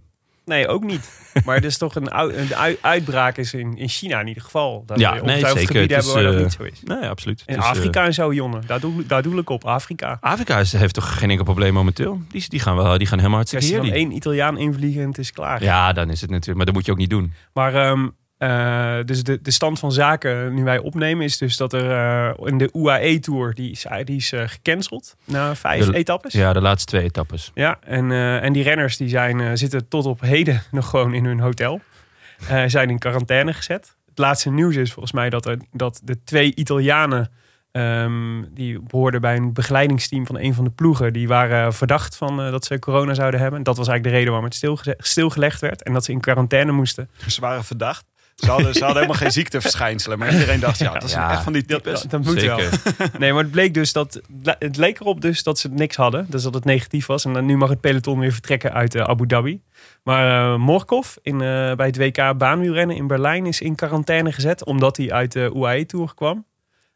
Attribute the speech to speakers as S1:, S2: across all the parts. S1: Nee, ook niet. Maar het is toch een, ou- een ui- uitbraak is in, in China in ieder geval. Dat
S2: Ja,
S1: we
S2: nee,
S1: ongetwijfeld
S2: zeker.
S1: gebieden
S2: Het is,
S1: hebben waar dat
S2: eh,
S1: niet zo is.
S2: Nee, absoluut.
S1: In
S2: Het is, eh,
S1: Afrika en zo, jongen. Daar doe, daar doe ik op. Afrika.
S2: Afrika is, heeft toch geen enkel probleem momenteel? Die, die, gaan, wel, die gaan helemaal
S1: Als
S2: hartstikke
S1: je dan
S2: heerlijk.
S1: één Italiaan invliegen en het is klaar.
S2: Ja, dan is het natuurlijk. Maar dat moet je ook niet doen.
S1: Maar ehm, eh, dus de, de stand van zaken nu wij opnemen is dus dat er eh, in de UAE-tour, die is, die is eh, gecanceld na vijf
S2: De-
S1: etappes.
S2: Ja, de laatste twee etappes.
S1: Ja, en, eh, en die renners die zijn, eh, zitten tot op heden nog gewoon in hun hotel. Eh, zijn in quarantaine gezet. Het laatste nieuws is volgens mij dat, er, dat de twee Italianen... ehm, die behoorden bij een begeleidingsteam van een van de ploegen... die waren verdacht van eh, dat ze corona zouden hebben. Dat was eigenlijk de reden waarom het stilgeze- stilgelegd werd. En dat ze in quarantaine moesten.
S3: Ze waren verdacht. Ze hadden, ze hadden helemaal geen ziekteverschijnselen. Maar iedereen dacht, ja, dat is
S2: Ja.
S3: echt van die types.
S1: Dat, dat moet wel. Nee, maar het bleek dus dat. Het leek erop dus dat ze niks hadden. Dus dat het negatief was. En dan, nu mag het peloton weer vertrekken uit eh, Abu Dhabi. Maar eh Morkov in, eh, bij het WK baanwielrennen in Berlijn is in quarantaine gezet. Omdat hij uit de UAE-tour kwam.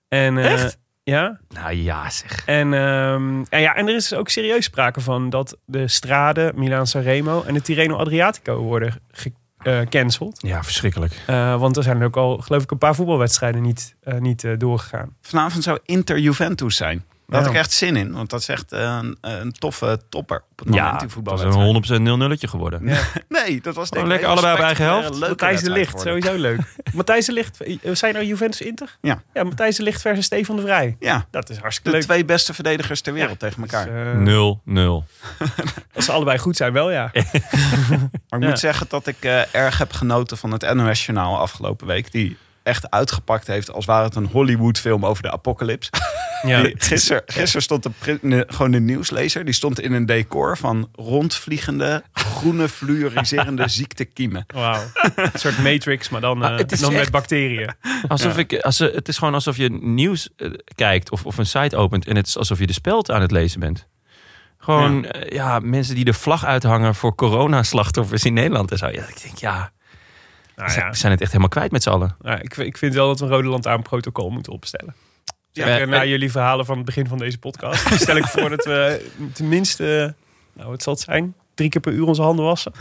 S1: En, eh,
S2: Echt?
S1: Ja.
S2: Nou ja, zeg.
S1: En, ehm, en, ja, en er is ook serieus sprake van dat de Strade, Milaan Sanremo en de Tirreno Adriatico worden gecanceld.
S2: Ja, verschrikkelijk.
S1: Eh, want er zijn ook al, geloof ik, een paar voetbalwedstrijden niet, eh, niet eh, doorgegaan.
S3: Vanavond zou Inter Juventus zijn. Daar had
S1: Ja.
S3: ik echt zin in. Want dat is echt een, een toffe topper op het moment
S2: Ja,
S3: die
S2: dat is een 100% 0 nulletje geworden.
S3: Nee, dat was denk
S2: Oh,
S3: ik
S2: lekker
S3: een hele
S2: allebei op eigen helft.
S3: spectaculaire, leuke
S1: Matthijs de
S3: wedstrijd
S1: Licht,
S3: geworden.
S1: sowieso leuk. Matthijs de Licht, eh, zijn er Juventus Inter?
S3: Ja.
S1: Ja, Matthijs de Licht versus Stefan de Vrij.
S3: Ja,
S1: Dat is hartstikke
S3: de
S1: leuk.
S3: twee beste verdedigers ter wereld tegen elkaar.
S1: Dus, eh,
S2: 0-0.
S1: Als ze allebei goed zijn, wel ja.
S3: Maar ik
S1: Ja.
S3: moet zeggen dat ik eh, erg heb genoten van het NOS-journaal afgelopen week. Die echt uitgepakt heeft als ware het een Hollywood-film over de apocalypse.
S1: ja.
S3: Die- Gisteren gister stond de, pri- ne- gewoon de nieuwslezer. Die stond in een decor van rondvliegende, groene, fluoriserende ziektekiemen.
S1: Wauw. Een soort matrix, maar dan, eh,
S2: Ah, het is
S1: dan met
S2: echt-
S1: bacteriën.
S2: Alsof ik, als, eh, het is gewoon alsof je nieuws eh, kijkt of, of een site opent en het is alsof je de speld aan het lezen bent. Gewoon ja. ja, mensen die de vlag uithangen voor coronaslachtoffers in Nederland en zo. Ja, ik denk, ja,
S1: Nou
S2: ze
S1: ja,
S2: zijn het echt helemaal kwijt met z'n allen.
S1: nou, ik, ik vind wel dat we een Rode Lantaarn protocol moeten opstellen.
S2: Eh,
S1: Zeker na jullie verhalen van het begin van deze podcast. stel ik voor dat we tenminste, eh, nou wat zal het zijn? Drie keer per uur onze handen wassen.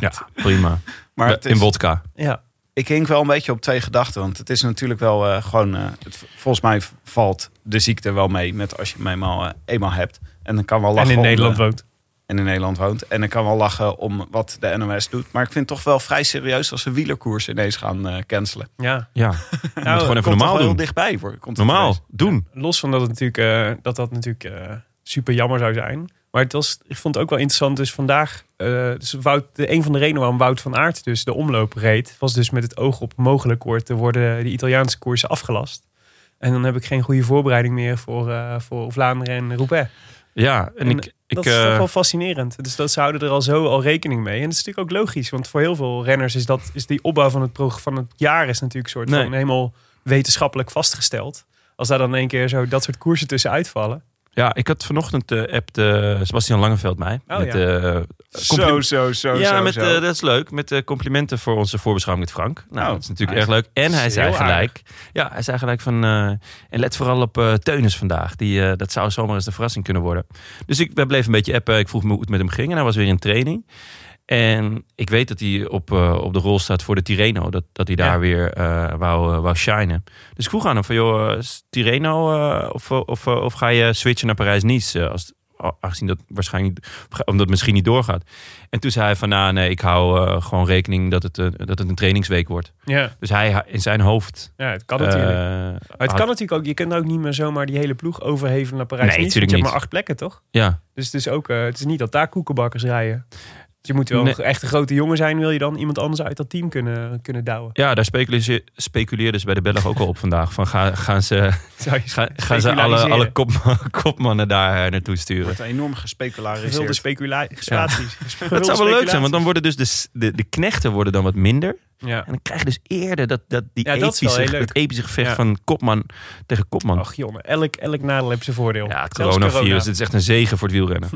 S2: ja, prima.
S3: Maar het
S2: In
S3: is-
S2: vodka.
S1: Ja.
S3: ik hing wel een beetje op twee gedachten. Want het is natuurlijk wel eh, gewoon... eh, het, volgens mij valt de ziekte wel mee met als je hem eenmaal, eh, eenmaal hebt. En dan kan wel lachen
S1: En in
S3: om,
S1: Nederland
S3: eh,
S1: woont.
S3: en in Nederland woont. En ik kan wel lachen om wat de NOS doet. Maar ik vind het toch wel vrij serieus als ze wielerkoers ineens gaan eh, cancelen.
S1: Ja.
S2: Ja,
S1: Nou,
S2: gewoon
S3: Het
S2: even
S3: komt toch
S2: normaal
S3: wel heel
S2: doen.
S3: dichtbij. Hoor. Komt het
S2: Normaal
S3: ineens.
S2: doen.
S1: los van dat het natuurlijk, eh, dat, dat natuurlijk eh, super jammer zou zijn. Maar het was, ik vond het ook wel interessant. Dus vandaag, eh, dus Wout, de, een van de redenen waarom Wout van Aert dus de omloop reed, was dus met het oog op mogelijk wordt, er worden de Italiaanse koersen afgelast. En dan heb ik geen goede voorbereiding meer voor, eh, voor Vlaanderen en Roubaix.
S2: Ja, en,
S1: En
S2: ik, ik,
S1: dat is toch
S2: eh,
S1: wel fascinerend. Dus dat ze houden er al zo al rekening mee. En dat is natuurlijk ook logisch. Want voor heel veel renners is, dat, is die opbouw van het, prog- van het jaar is natuurlijk soort
S2: Nee.
S1: van helemaal wetenschappelijk vastgesteld. Als daar dan in één keer zo dat soort koersen tussen uitvallen.
S2: ja, ik had vanochtend de app de Sebastian Langeveld mij.
S1: Oh,
S2: met,
S1: ja.
S2: eh,
S3: Zo, zo, zo,
S2: ja,
S3: zo,
S2: met,
S3: zo.
S2: eh, dat is leuk. Met eh, complimenten voor onze voorbeschouwing met Frank. Nou,
S3: Oh,
S2: dat is natuurlijk erg
S3: hij
S2: leuk. En hij
S1: is
S2: zei
S1: heel
S2: gelijk. Ja, hij zei gelijk van. eh, en let vooral op eh Teunis vandaag. Die, eh, dat zou zomaar eens de verrassing kunnen worden. Dus ik wij bleven een beetje appen. Ik vroeg me hoe het met hem ging. En hij was weer in training. En ik weet dat hij op, eh, op de rol staat voor de Tireno. Dat, dat hij daar
S1: Ja.
S2: weer eh, wou, eh, wou shinen. Dus ik vroeg aan hem van, joh, eh, is Tireno eh, of, eh, of, eh, of ga je switchen naar Parijs-Nice? eh, als, aangezien dat waarschijnlijk niet, omdat het misschien niet doorgaat. En toen zei hij van, nou nee, ik hou eh, gewoon rekening dat het, eh, dat het een trainingsweek wordt.
S1: Ja,
S2: Dus hij ha- in zijn hoofd...
S1: ja het kan natuurlijk.
S2: eh,
S1: maar het
S2: had-
S1: kan natuurlijk ook. Je kunt ook niet meer zomaar die hele ploeg overheven naar Parijs.
S2: Nee,
S1: Nice,
S2: natuurlijk
S1: want je hebt
S2: niet.
S1: maar acht plekken, toch?
S2: Ja,
S1: Dus het is ook eh, het is niet dat daar koekenbakkers rijden. je moet wel
S2: Nee.
S1: echt een grote jongen zijn, wil je dan iemand anders uit dat team kunnen, kunnen douwen.
S2: Ja, daar speculise- speculeerden ze bij de Belg ook al op vandaag. Van ga, gaan ze,
S1: Zou je
S2: ga, gaan ze alle,
S1: Speculariseren.
S2: alle kop- kopmannen daar eh, naartoe sturen?
S3: wordt enorm
S1: gevulde
S3: gespeculariseerd.
S1: specula- speculaties. Gevulde
S2: Dat zou wel leuk zijn, want
S1: speculaties.
S2: dan worden dus de, s- de, de knechten worden dan wat minder.
S1: Ja.
S2: En dan krijg je dus eerder dat, dat, die
S1: Ja, dat is wel
S2: epische,
S1: heel leuk.
S2: het epische gevecht
S1: Ja.
S2: van kopman tegen kopman.
S1: Ach jongen, elk, elk nadeel heeft zijn voordeel.
S2: ja, het
S1: Zelfs
S2: coronavirus.
S1: corona.
S2: Dit is echt een zegen voor het wielrennen.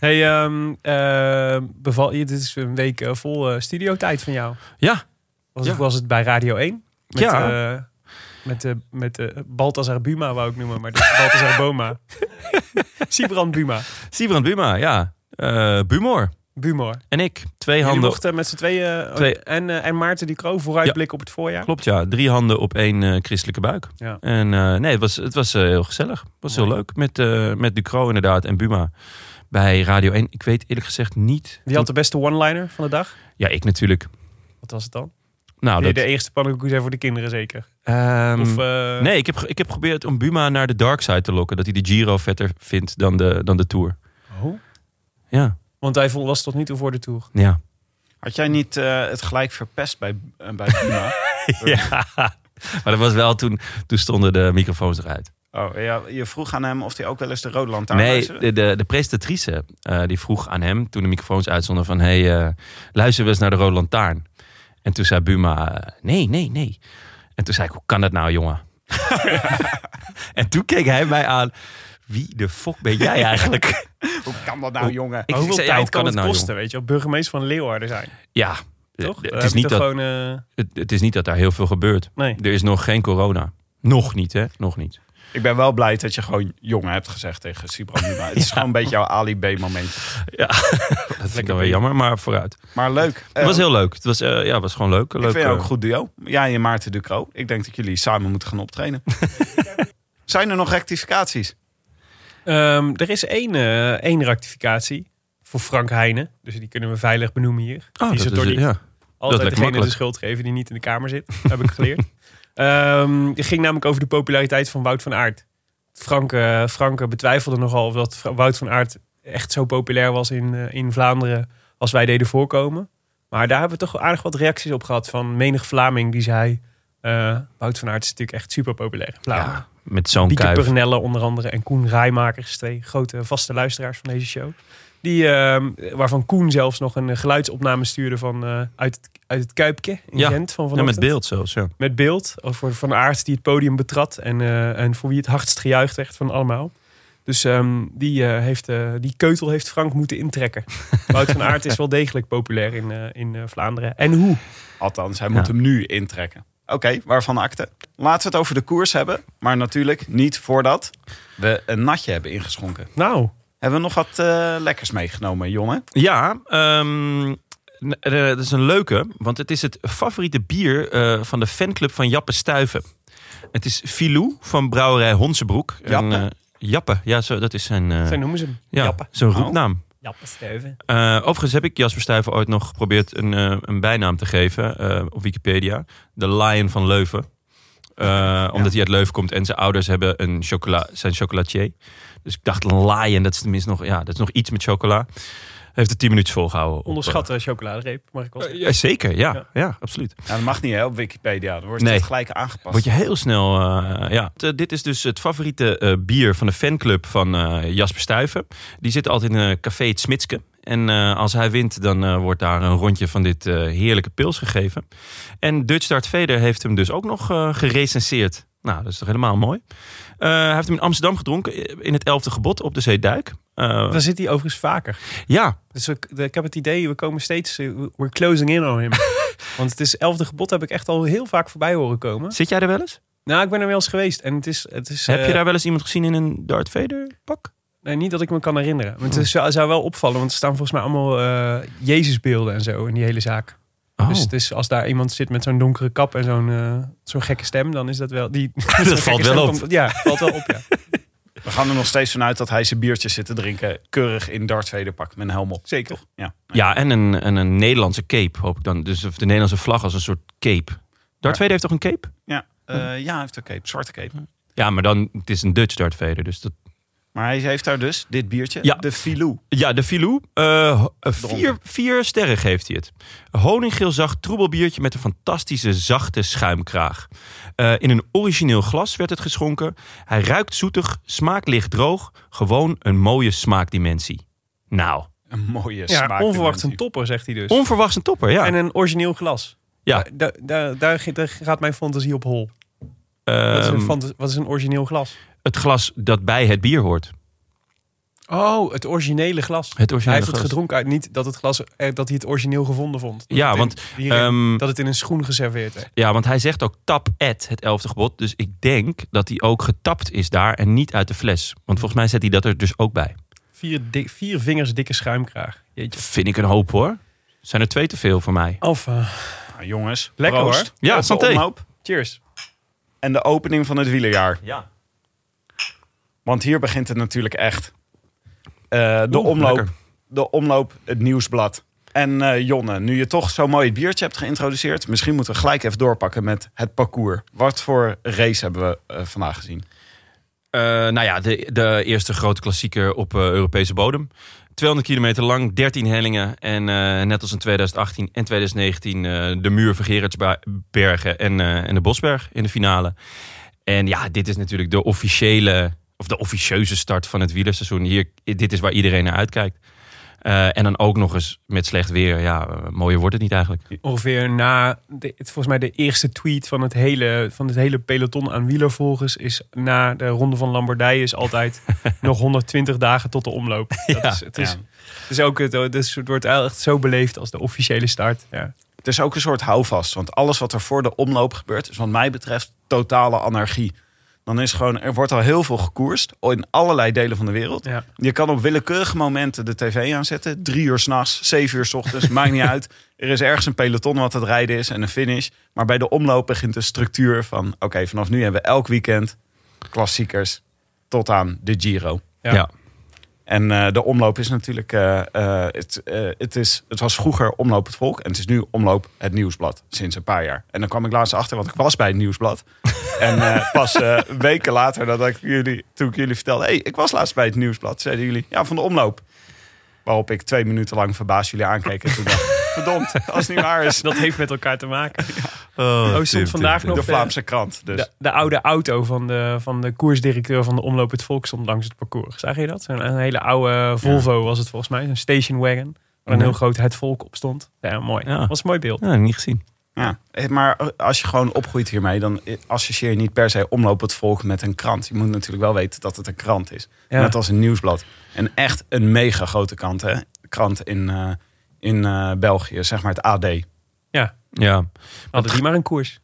S1: Hey, ehm, eh, beval, dit is een week eh, vol studio studiotijd van jou.
S2: Ja,
S1: Was, het,
S2: Ja.
S1: was het bij Radio 1? Met,
S2: Ja.
S1: eh, met, eh, met eh, Balthazar Buma wou ik noemen, maar dat is Balthazar Boma. Sibrand Buma.
S2: Sibrand Buma, ja. Eh, Bumor
S1: Bumor.
S2: en ik. Twee
S1: Jullie
S2: handen.
S1: mochten met z'n tweeën eh,
S2: Twee.
S1: En, eh, en Maarten Ducro vooruitblikken op het voorjaar.
S2: Klopt, ja. Drie handen op één eh, christelijke buik.
S1: Ja.
S2: En eh, nee, het was, het was eh, heel gezellig. Het was heel
S1: Mooi.
S2: leuk. Met, eh met Ducro inderdaad en Buma bij Radio 1. Ik weet eerlijk gezegd niet...
S1: Wie had de beste one-liner van de dag?
S2: Ja, ik natuurlijk.
S1: Wat was het dan?
S2: Nou,
S1: Die
S2: dat...
S1: de eerste pannenkoek zijn voor de kinderen zeker.
S2: ehm,
S1: Of, eh,
S2: Nee, ik heb, ge- ik heb geprobeerd om Buma naar de dark side te lokken. Dat hij de Giro vetter vindt dan de, dan de Tour.
S1: Oh.
S2: Ja,
S1: Want hij vo- was tot nu toe voor de Tour.
S2: ja.
S3: Had jij niet eh, het gelijk verpest bij, eh, bij Buma?
S2: ja. Maar dat was wel toen, toen stonden de microfoons eruit.
S3: oh, ja, je vroeg aan hem of hij ook wel eens de Rode Lantaarn
S2: Nee,
S3: luisterde.
S2: de, de, de presentatrice eh, die vroeg aan hem toen de microfoons uitstonden van... Hey, eh, luister wel eens naar de Rode Lantaarn. En toen zei Buma, eh, nee, nee, nee. En toen zei ik, hoe kan dat nou, jongen? en toen keek hij mij aan, wie de fuck ben jij eigenlijk?
S3: Hoe kan dat nou, jongen?
S2: Ik,
S1: Maar hoeveel
S2: zei, ja,
S1: tijd
S2: hoe
S1: kan, het
S2: nou,
S1: kosten,
S2: jongen?
S1: weet je wel? Burgemeester van Leeuwarden zijn,
S2: Ja, eh,
S1: toch?
S2: het
S1: Daar
S2: is
S1: heb je
S2: niet
S1: toch
S2: dat...
S1: gewoon... eh,
S2: Het, het is niet dat daar heel veel gebeurt.
S1: nee.
S2: Er is nog geen corona. Nog niet, hè? Nog niet.
S3: Ik ben wel blij dat je gewoon jongen hebt gezegd tegen Sibran Buma. Het is gewoon een beetje jouw Ali B momentje.
S2: Dat vind ik dan weer jammer, maar vooruit.
S3: Maar leuk.
S2: het was
S3: Eh,
S2: heel leuk. Het was, eh, ja, het was gewoon leuk. Leuk,
S3: ik vind jou ook
S2: eh,
S3: een goed duo. Jij en Maarten Ducro. Ik denk dat jullie samen moeten gaan optreden. Zijn er nog rectificaties?
S1: Ehm, er is één, eh, één rectificatie voor Frank Heijnen. Dus die kunnen we veilig benoemen hier.
S2: oh,
S1: die
S2: dat
S1: is het door
S2: is-
S1: niet
S2: ja.
S1: altijd
S2: lijkt
S1: degene
S2: me makkelijk.
S1: de schuld geven die niet in de kamer zit. heb ik geleerd. Ehm het ging namelijk over de populariteit van Wout van Aert. Frank, eh, Frank betwijfelde nogal of dat Fra- Wout van Aert echt zo populair was in, eh, in Vlaanderen als wij deden voorkomen. Maar daar hebben we toch wel aardig wat reacties op gehad van menig Vlaming die zei... eh, Wout van Aert is natuurlijk echt super populair in Vlaanderen.
S2: ja, met zo'n
S1: Pieke
S2: kuif.
S1: Pernelle onder andere en Koen Rijmakers, twee grote vaste luisteraars van deze show. Die, ehm, waarvan Koen zelfs nog een eh, geluidsopname stuurde van, eh, uit, het, uit het Kuipje in
S2: Ja,
S1: Gent. Van
S2: Ja, met
S1: vanochtend.
S2: beeld zelfs, ja.
S1: Met beeld. Over Van Aert die het podium betrad en, eh, en voor wie het hardst gejuicht werd van allemaal. Dus ehm, die, eh, heeft, eh, die keutel heeft Frank moeten intrekken. Wout van Aert is wel degelijk populair in, eh, in eh, Vlaanderen. En hoe?
S3: Althans, hij moet hem nu intrekken. Oké, waarvan akte? Laten we het over de koers hebben. Maar natuurlijk niet voordat we een natje hebben ingeschonken.
S1: Nou,
S3: Hebben we nog wat eh, lekkers meegenomen, jongen?
S2: Ja, ehm, n- eh, dat is een leuke. Want het is het favoriete bier eh, van de fanclub van Jappe Stuiven. Het is Filou van brouwerij Honsebroek. En,
S3: Jappe?
S2: eh, Jappe, ja, zo, dat is zijn, eh,
S1: zo noemen ze hem.
S2: ja,
S1: Jappe.
S2: zijn roepnaam.
S1: Jappe Steuven.
S2: Eh, overigens heb ik Jasper Stuyven ooit nog geprobeerd een, eh, een bijnaam te geven eh, op Wikipedia. De Lion van Leuven. Eh, Omdat hij uit Leuven komt en zijn ouders hebben een chocola, zijn chocolatier. Dus ik dacht, een lion, dat is tenminste nog, ja, dat is nog iets met chocola. Heeft het 10 minuten volgehouden. op, eh,
S1: Onderschatte chocoladereep, mag ik wel
S2: eh,
S1: zeggen.
S2: ja, zeker, ja,
S1: Ja.
S2: ja. absoluut.
S3: Ja, Nou, dat mag niet hè, op Wikipedia. Dan wordt
S2: Nee.
S3: het gelijk aangepast.
S2: Word je heel snel. eh, ja. T- dit is dus het favoriete eh, bier van de fanclub van eh, Jasper Stuyven. Die zit altijd in eh, Café Het Smitske. En eh, als hij wint, dan eh, wordt daar een rondje van dit eh, heerlijke pils gegeven. En Dutch Dart Vader heeft hem dus ook nog eh gerecenseerd. Nou, dat is toch helemaal mooi. Eh, hij heeft hem in Amsterdam gedronken eh, in het 11e gebod op de Zeeduik. Eh
S1: Daar zit hij overigens vaker.
S2: ja,
S1: Dus ik, ik heb het idee, we komen steeds, eh, we're closing in on him. Want het is elfde gebod, heb ik echt al heel vaak voorbij horen komen.
S2: zit jij er wel eens?
S1: Nou, ik ben er wel eens geweest en het is... Het is
S2: Heb je
S1: eh,
S2: daar wel eens iemand gezien in een Dart Vader pak?
S1: nee, niet dat ik me kan herinneren. Maar het
S2: Oh.
S1: is- zou, zou wel opvallen, want er staan volgens mij allemaal eh, Jezusbeelden en zo in die hele zaak.
S2: Oh.
S1: Dus het is, als daar iemand zit met zo'n donkere kap en zo'n eh, zo'n gekke stem, dan is dat wel... Die, zo'n gekke
S2: valt
S1: stem
S2: wel
S1: komt-
S2: op.
S1: ja, valt wel op, ja.
S3: We gaan er nog steeds vanuit dat hij zijn biertjes zit te drinken. Keurig in Darth Vader pak met een helm op. Zeker. Ja.
S2: Ja, en een, en een Nederlandse cape hoop ik dan. Dus of de Nederlandse vlag als een soort cape. Darth Vader heeft toch een cape? Hm.
S3: Ja, Eh, ja hij heeft een cape. Zwarte cape.
S2: Ja, maar dan, het is een Dutch Darth Vader. Dus dat,
S3: Maar hij heeft daar dus dit biertje,
S2: Ja.
S3: de Filou.
S2: Ja, de Filou. eh, eh, vier, vier sterren geeft hij het. Een Honinggeel zacht troebel biertje met een fantastische zachte schuimkraag. Eh, in een origineel glas werd het geschonken. Hij ruikt zoetig, smaak licht droog. Gewoon een mooie smaakdimensie. Nou,
S3: Een mooie
S1: Ja,
S3: smaak.
S1: onverwacht een topper, zegt hij dus.
S2: onverwachts een topper, ja.
S1: En een origineel glas.
S2: Ja.
S1: Daar, daar, daar, daar gaat mijn fantasie op hol. Wat is, een
S2: Ehm,
S1: fanta- wat is een origineel glas?
S2: het glas dat bij het bier hoort.
S1: Oh, het originele glas.
S2: Het originele
S1: hij heeft
S2: glas.
S1: het gedronken uit niet dat het glas eh, dat hij het origineel gevonden vond. Dat
S2: Ja,
S1: het in-
S2: want,
S1: hierin-
S2: ehm,
S1: dat het in een schoen geserveerd werd.
S2: Ja, want hij zegt ook tap at het elfde gebod. Dus ik denk dat hij ook getapt is daar en niet uit de fles. Want volgens mij zet hij dat er dus ook bij.
S1: Vier, dik- vier vingers dikke schuimkraag. Jeetje.
S2: Vind ik een hoop hoor. Zijn er twee te veel voor mij.
S1: Of eh,
S3: Nou, jongens,
S1: Lekker,
S3: proost.
S1: hoor.
S3: Op
S2: Ja,
S3: de
S2: santé.
S3: omhoop
S1: cheers.
S3: En de opening van het wielerjaar.
S2: Ja.
S3: Want hier begint het natuurlijk echt. Eh, de,
S2: Oeh,
S3: omloop,
S2: lekker.
S3: de omloop, het nieuwsblad. En eh, Jonne, nu je toch zo mooi het biertje hebt geïntroduceerd... misschien moeten we gelijk even doorpakken met het parcours. Wat voor race hebben we eh, vandaag gezien?
S2: Eh, nou ja, de, de eerste grote klassieker op eh, Europese bodem. 200 kilometer lang, 13 hellingen. En eh, net als in 2018 en 2019 eh, de muur van Gerritsbergen en, eh, en de Bosberg in de finale. En ja, dit is natuurlijk de officiële, of de officieuze start van het wielerseizoen. Hier, dit is waar iedereen naar uitkijkt. Eh, en dan ook nog eens met slecht weer. Ja, eh, mooier wordt het niet eigenlijk.
S1: Ongeveer na, de, het- volgens mij de eerste tweet van het hele, van het hele peloton aan wielervolgers is na de ronde van Lombardije is altijd nog 120 dagen tot de omloop. Dat is, het, is,
S3: Ja.
S1: het is ook, het, het, is, het wordt echt zo beleefd als de officiële start. Ja.
S3: Het is ook een soort houvast. Want alles wat er voor de omloop gebeurt, is wat mij betreft totale anarchie. Dan is gewoon, er wordt al heel veel gekoerst in allerlei delen van de wereld.
S1: Ja.
S3: Je kan op willekeurige momenten de tv aanzetten. Drie uur s'nachts, zeven uur s ochtends, maakt niet uit. Er is ergens een peloton wat het rijden is en een finish. Maar bij de omloop begint de structuur van... oké, vanaf nu hebben we elk weekend klassiekers tot aan de Giro.
S1: Ja.
S3: En eh, de omloop is natuurlijk. eh, eh, het, eh, het, is, het was vroeger Omloop het Volk. En het is nu Omloop het Nieuwsblad. Sinds een paar jaar. En dan kwam ik laatst achter, want ik was bij het Nieuwsblad. en eh, pas eh, weken later, dat ik jullie, toen ik jullie vertelde. hey, ik was laatst bij het Nieuwsblad. Zeiden jullie. Ja, van de omloop. Waarop ik twee minuten lang verbaasd jullie aankeek. En toen dacht ik, verdomd, als het niet waar is.
S1: Dat heeft met elkaar te maken.
S2: Oh,
S1: stond vandaag nog-
S3: De Vlaamse krant. Dus.
S1: De, de oude auto van de, van de koersdirecteur van de Omloop het Volk stond langs het parcours. Zag je dat? Een, een hele oude Volvo was het volgens mij. Een station wagon. Waar een heel groot het volk op stond. Ja, mooi.
S2: Ja.
S1: was een mooi beeld.
S2: Ja, Nou, niet gezien.
S3: Ja, eh, maar als je gewoon opgroeit hiermee, dan eh, associeer je niet per se omloop het volk met een krant. Je moet natuurlijk wel weten dat het een krant is.
S1: Ja.
S3: Net als een nieuwsblad. En echt een mega grote krant, hè? krant in, eh, in eh, België, zeg maar het AD.
S1: Ja,
S2: Ja.
S1: hadden die maar een koers.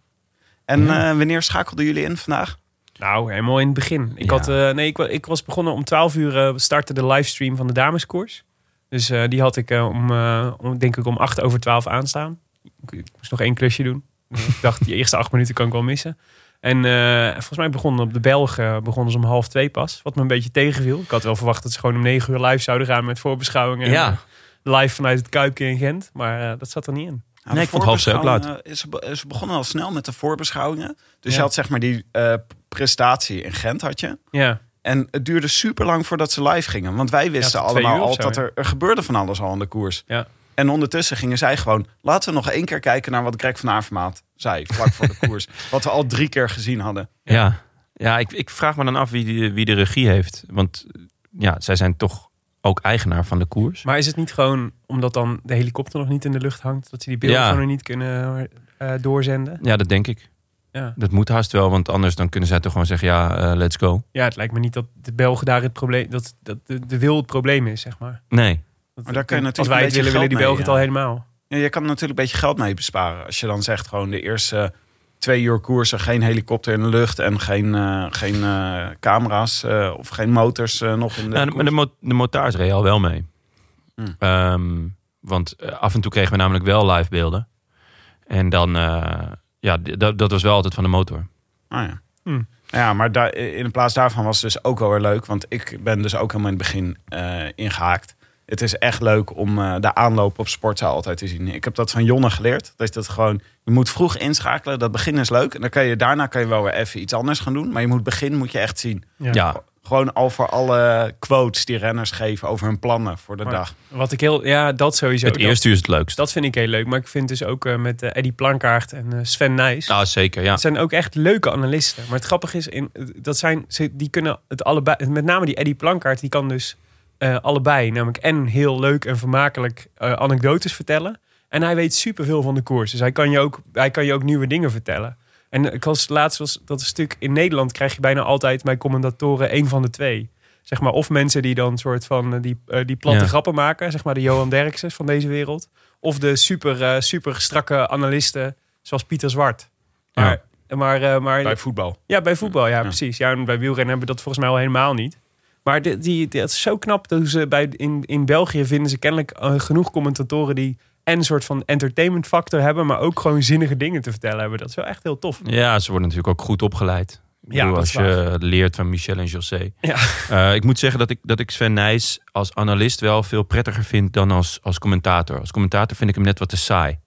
S3: En eh, wanneer schakelden jullie in vandaag?
S1: Nou, helemaal in het begin. Ik,
S2: Ja.
S1: had, eh, nee, ik, wa- ik was begonnen om 12 uur eh, startte de livestream van de dameskoers. Dus eh, die had ik eh, om, eh, om, denk ik om 8 over 12 aanstaan. Ik, ik moest nog één klusje doen. Dus ik dacht, die eerste acht minuten kan ik wel missen. En eh, volgens mij begonnen op de Belgen begonnen ze om half twee pas. Wat me een beetje tegenviel. Ik had wel verwacht dat ze gewoon om negen uur live zouden gaan met voorbeschouwingen.
S2: Ja.
S1: Live vanuit het Kuipje in Gent. Maar eh, dat zat er niet in.
S2: Nee,
S3: Nou, de
S2: ik vond half zeven
S3: voorbeschouwingen, eh, Ze, be- ze begonnen al snel met de voorbeschouwingen. Dus
S1: Ja.
S3: je had zeg maar die eh, prestatie in Gent had je.
S1: Ja,
S3: En het duurde super lang voordat ze live gingen. Want wij wisten
S1: tot twee
S3: allemaal
S1: uur of
S3: al
S1: zo,
S3: dat
S1: ja.
S3: er, er gebeurde van alles al aan de koers.
S1: ja.
S3: En ondertussen gingen zij gewoon... laten we nog één keer kijken naar wat Greg van Avermaat zei... vlak voor de koers. Wat we al drie keer gezien hadden.
S2: Ja, ja ik, ik vraag me dan af wie, die- wie de regie heeft. Want ja, zij zijn toch ook eigenaar van de koers.
S1: Maar is het niet gewoon omdat dan de helikopter nog niet in de lucht hangt, dat ze die beelden
S2: Ja.
S1: gewoon niet kunnen eh, doorzenden?
S2: Ja, dat denk ik.
S1: Ja.
S2: Dat moet haast wel, want anders dan kunnen zij toch gewoon zeggen... ja, eh, let's go.
S1: ja, het lijkt me niet dat de Belgen daar het probleem, dat, dat de, de wil het probleem is, zeg maar.
S2: Nee.
S1: Dat-
S3: Maar daar kun je natuurlijk
S1: als wij
S3: een
S1: het
S3: beetje
S1: willen, willen die
S3: geld
S1: Belgen
S3: mee,
S1: het al helemaal.
S3: Ja, je kan er natuurlijk een beetje geld mee besparen. Als je dan zegt gewoon de eerste twee uur koersen... geen helikopter in de lucht en geen, eh, geen eh, camera's... eh, of geen motors eh, nog in de
S1: Nou,
S2: Ja,
S3: koers.
S2: maar de, mo de motards reden al wel mee.
S3: Hmm.
S2: Ehm, want eh, af en toe kregen we namelijk wel live beelden. En dan... eh, ja, d- dat, dat was wel altijd van de motor.
S3: Ah, ja.
S1: Hmm.
S3: Ja, maar daar- in plaats daarvan was het dus ook wel weer leuk. Want ik ben dus ook helemaal in het begin eh, ingehaakt. Het is echt leuk om eh, de aanloop op sportzaal altijd te zien. Ik heb dat van Jonne geleerd. Dat is dat gewoon, je moet vroeg inschakelen. Dat begin is leuk. En dan kan je, daarna kan je wel weer even iets anders gaan doen. Maar je moet begin moet je echt zien.
S2: Ja.
S3: Gewoon al voor alle quotes die renners geven over hun plannen voor de
S1: Maar-
S3: dag.
S1: Wat ik heel, ja, dat sowieso.
S2: Het
S1: Dat-
S2: eerste uur is het leukst.
S1: Dat vind ik heel leuk. Maar ik vind dus ook eh, met eh, Eddie Plankaart en eh, Sven Nijs.
S2: Nou, zeker, ja.
S1: Het zijn ook echt leuke analisten. Maar het grappige is, in, dat zijn, ze, die kunnen het allebei. Met name die Eddie Plankaart, die kan dus eh, allebei. Namelijk en heel leuk en vermakelijk eh, anekdotes vertellen. En hij weet superveel van de koers. Dus hij kan je ook, hij kan je ook nieuwe dingen vertellen. En ik was laatst was dat stuk in Nederland krijg je bijna altijd bij commentatoren één van de twee. Zeg maar, of mensen die dan soort van eh, die, eh, die platte
S2: Ja.
S1: grappen maken. Zeg maar de Johan Derksen van deze wereld. Of de super, eh, super strakke analisten zoals Pieter Zwart.
S2: Ja.
S1: Maar, maar, eh, maar
S3: Bij voetbal.
S1: ja, bij voetbal, ja,
S3: Ja.
S1: precies. Ja, en bij wielrennen hebben we dat volgens mij al helemaal niet. Maar die, die, die- dat is zo knap. Dat ze bij, in, in België vinden ze kennelijk eh, genoeg commentatoren die en een soort van entertainment factor hebben, maar ook gewoon zinnige dingen te vertellen hebben. Dat is wel echt heel tof.
S2: Ja, ze worden natuurlijk ook goed opgeleid. Ik
S1: Ja,
S2: bedoel,
S1: dat
S2: als
S1: is waar.
S2: je leert van Michel en José.
S1: Ja.
S2: Eh, ik moet zeggen dat ik, dat ik Sven Nijs als analist wel veel prettiger vind dan als, als commentator. Als commentator vind ik hem net wat te saai.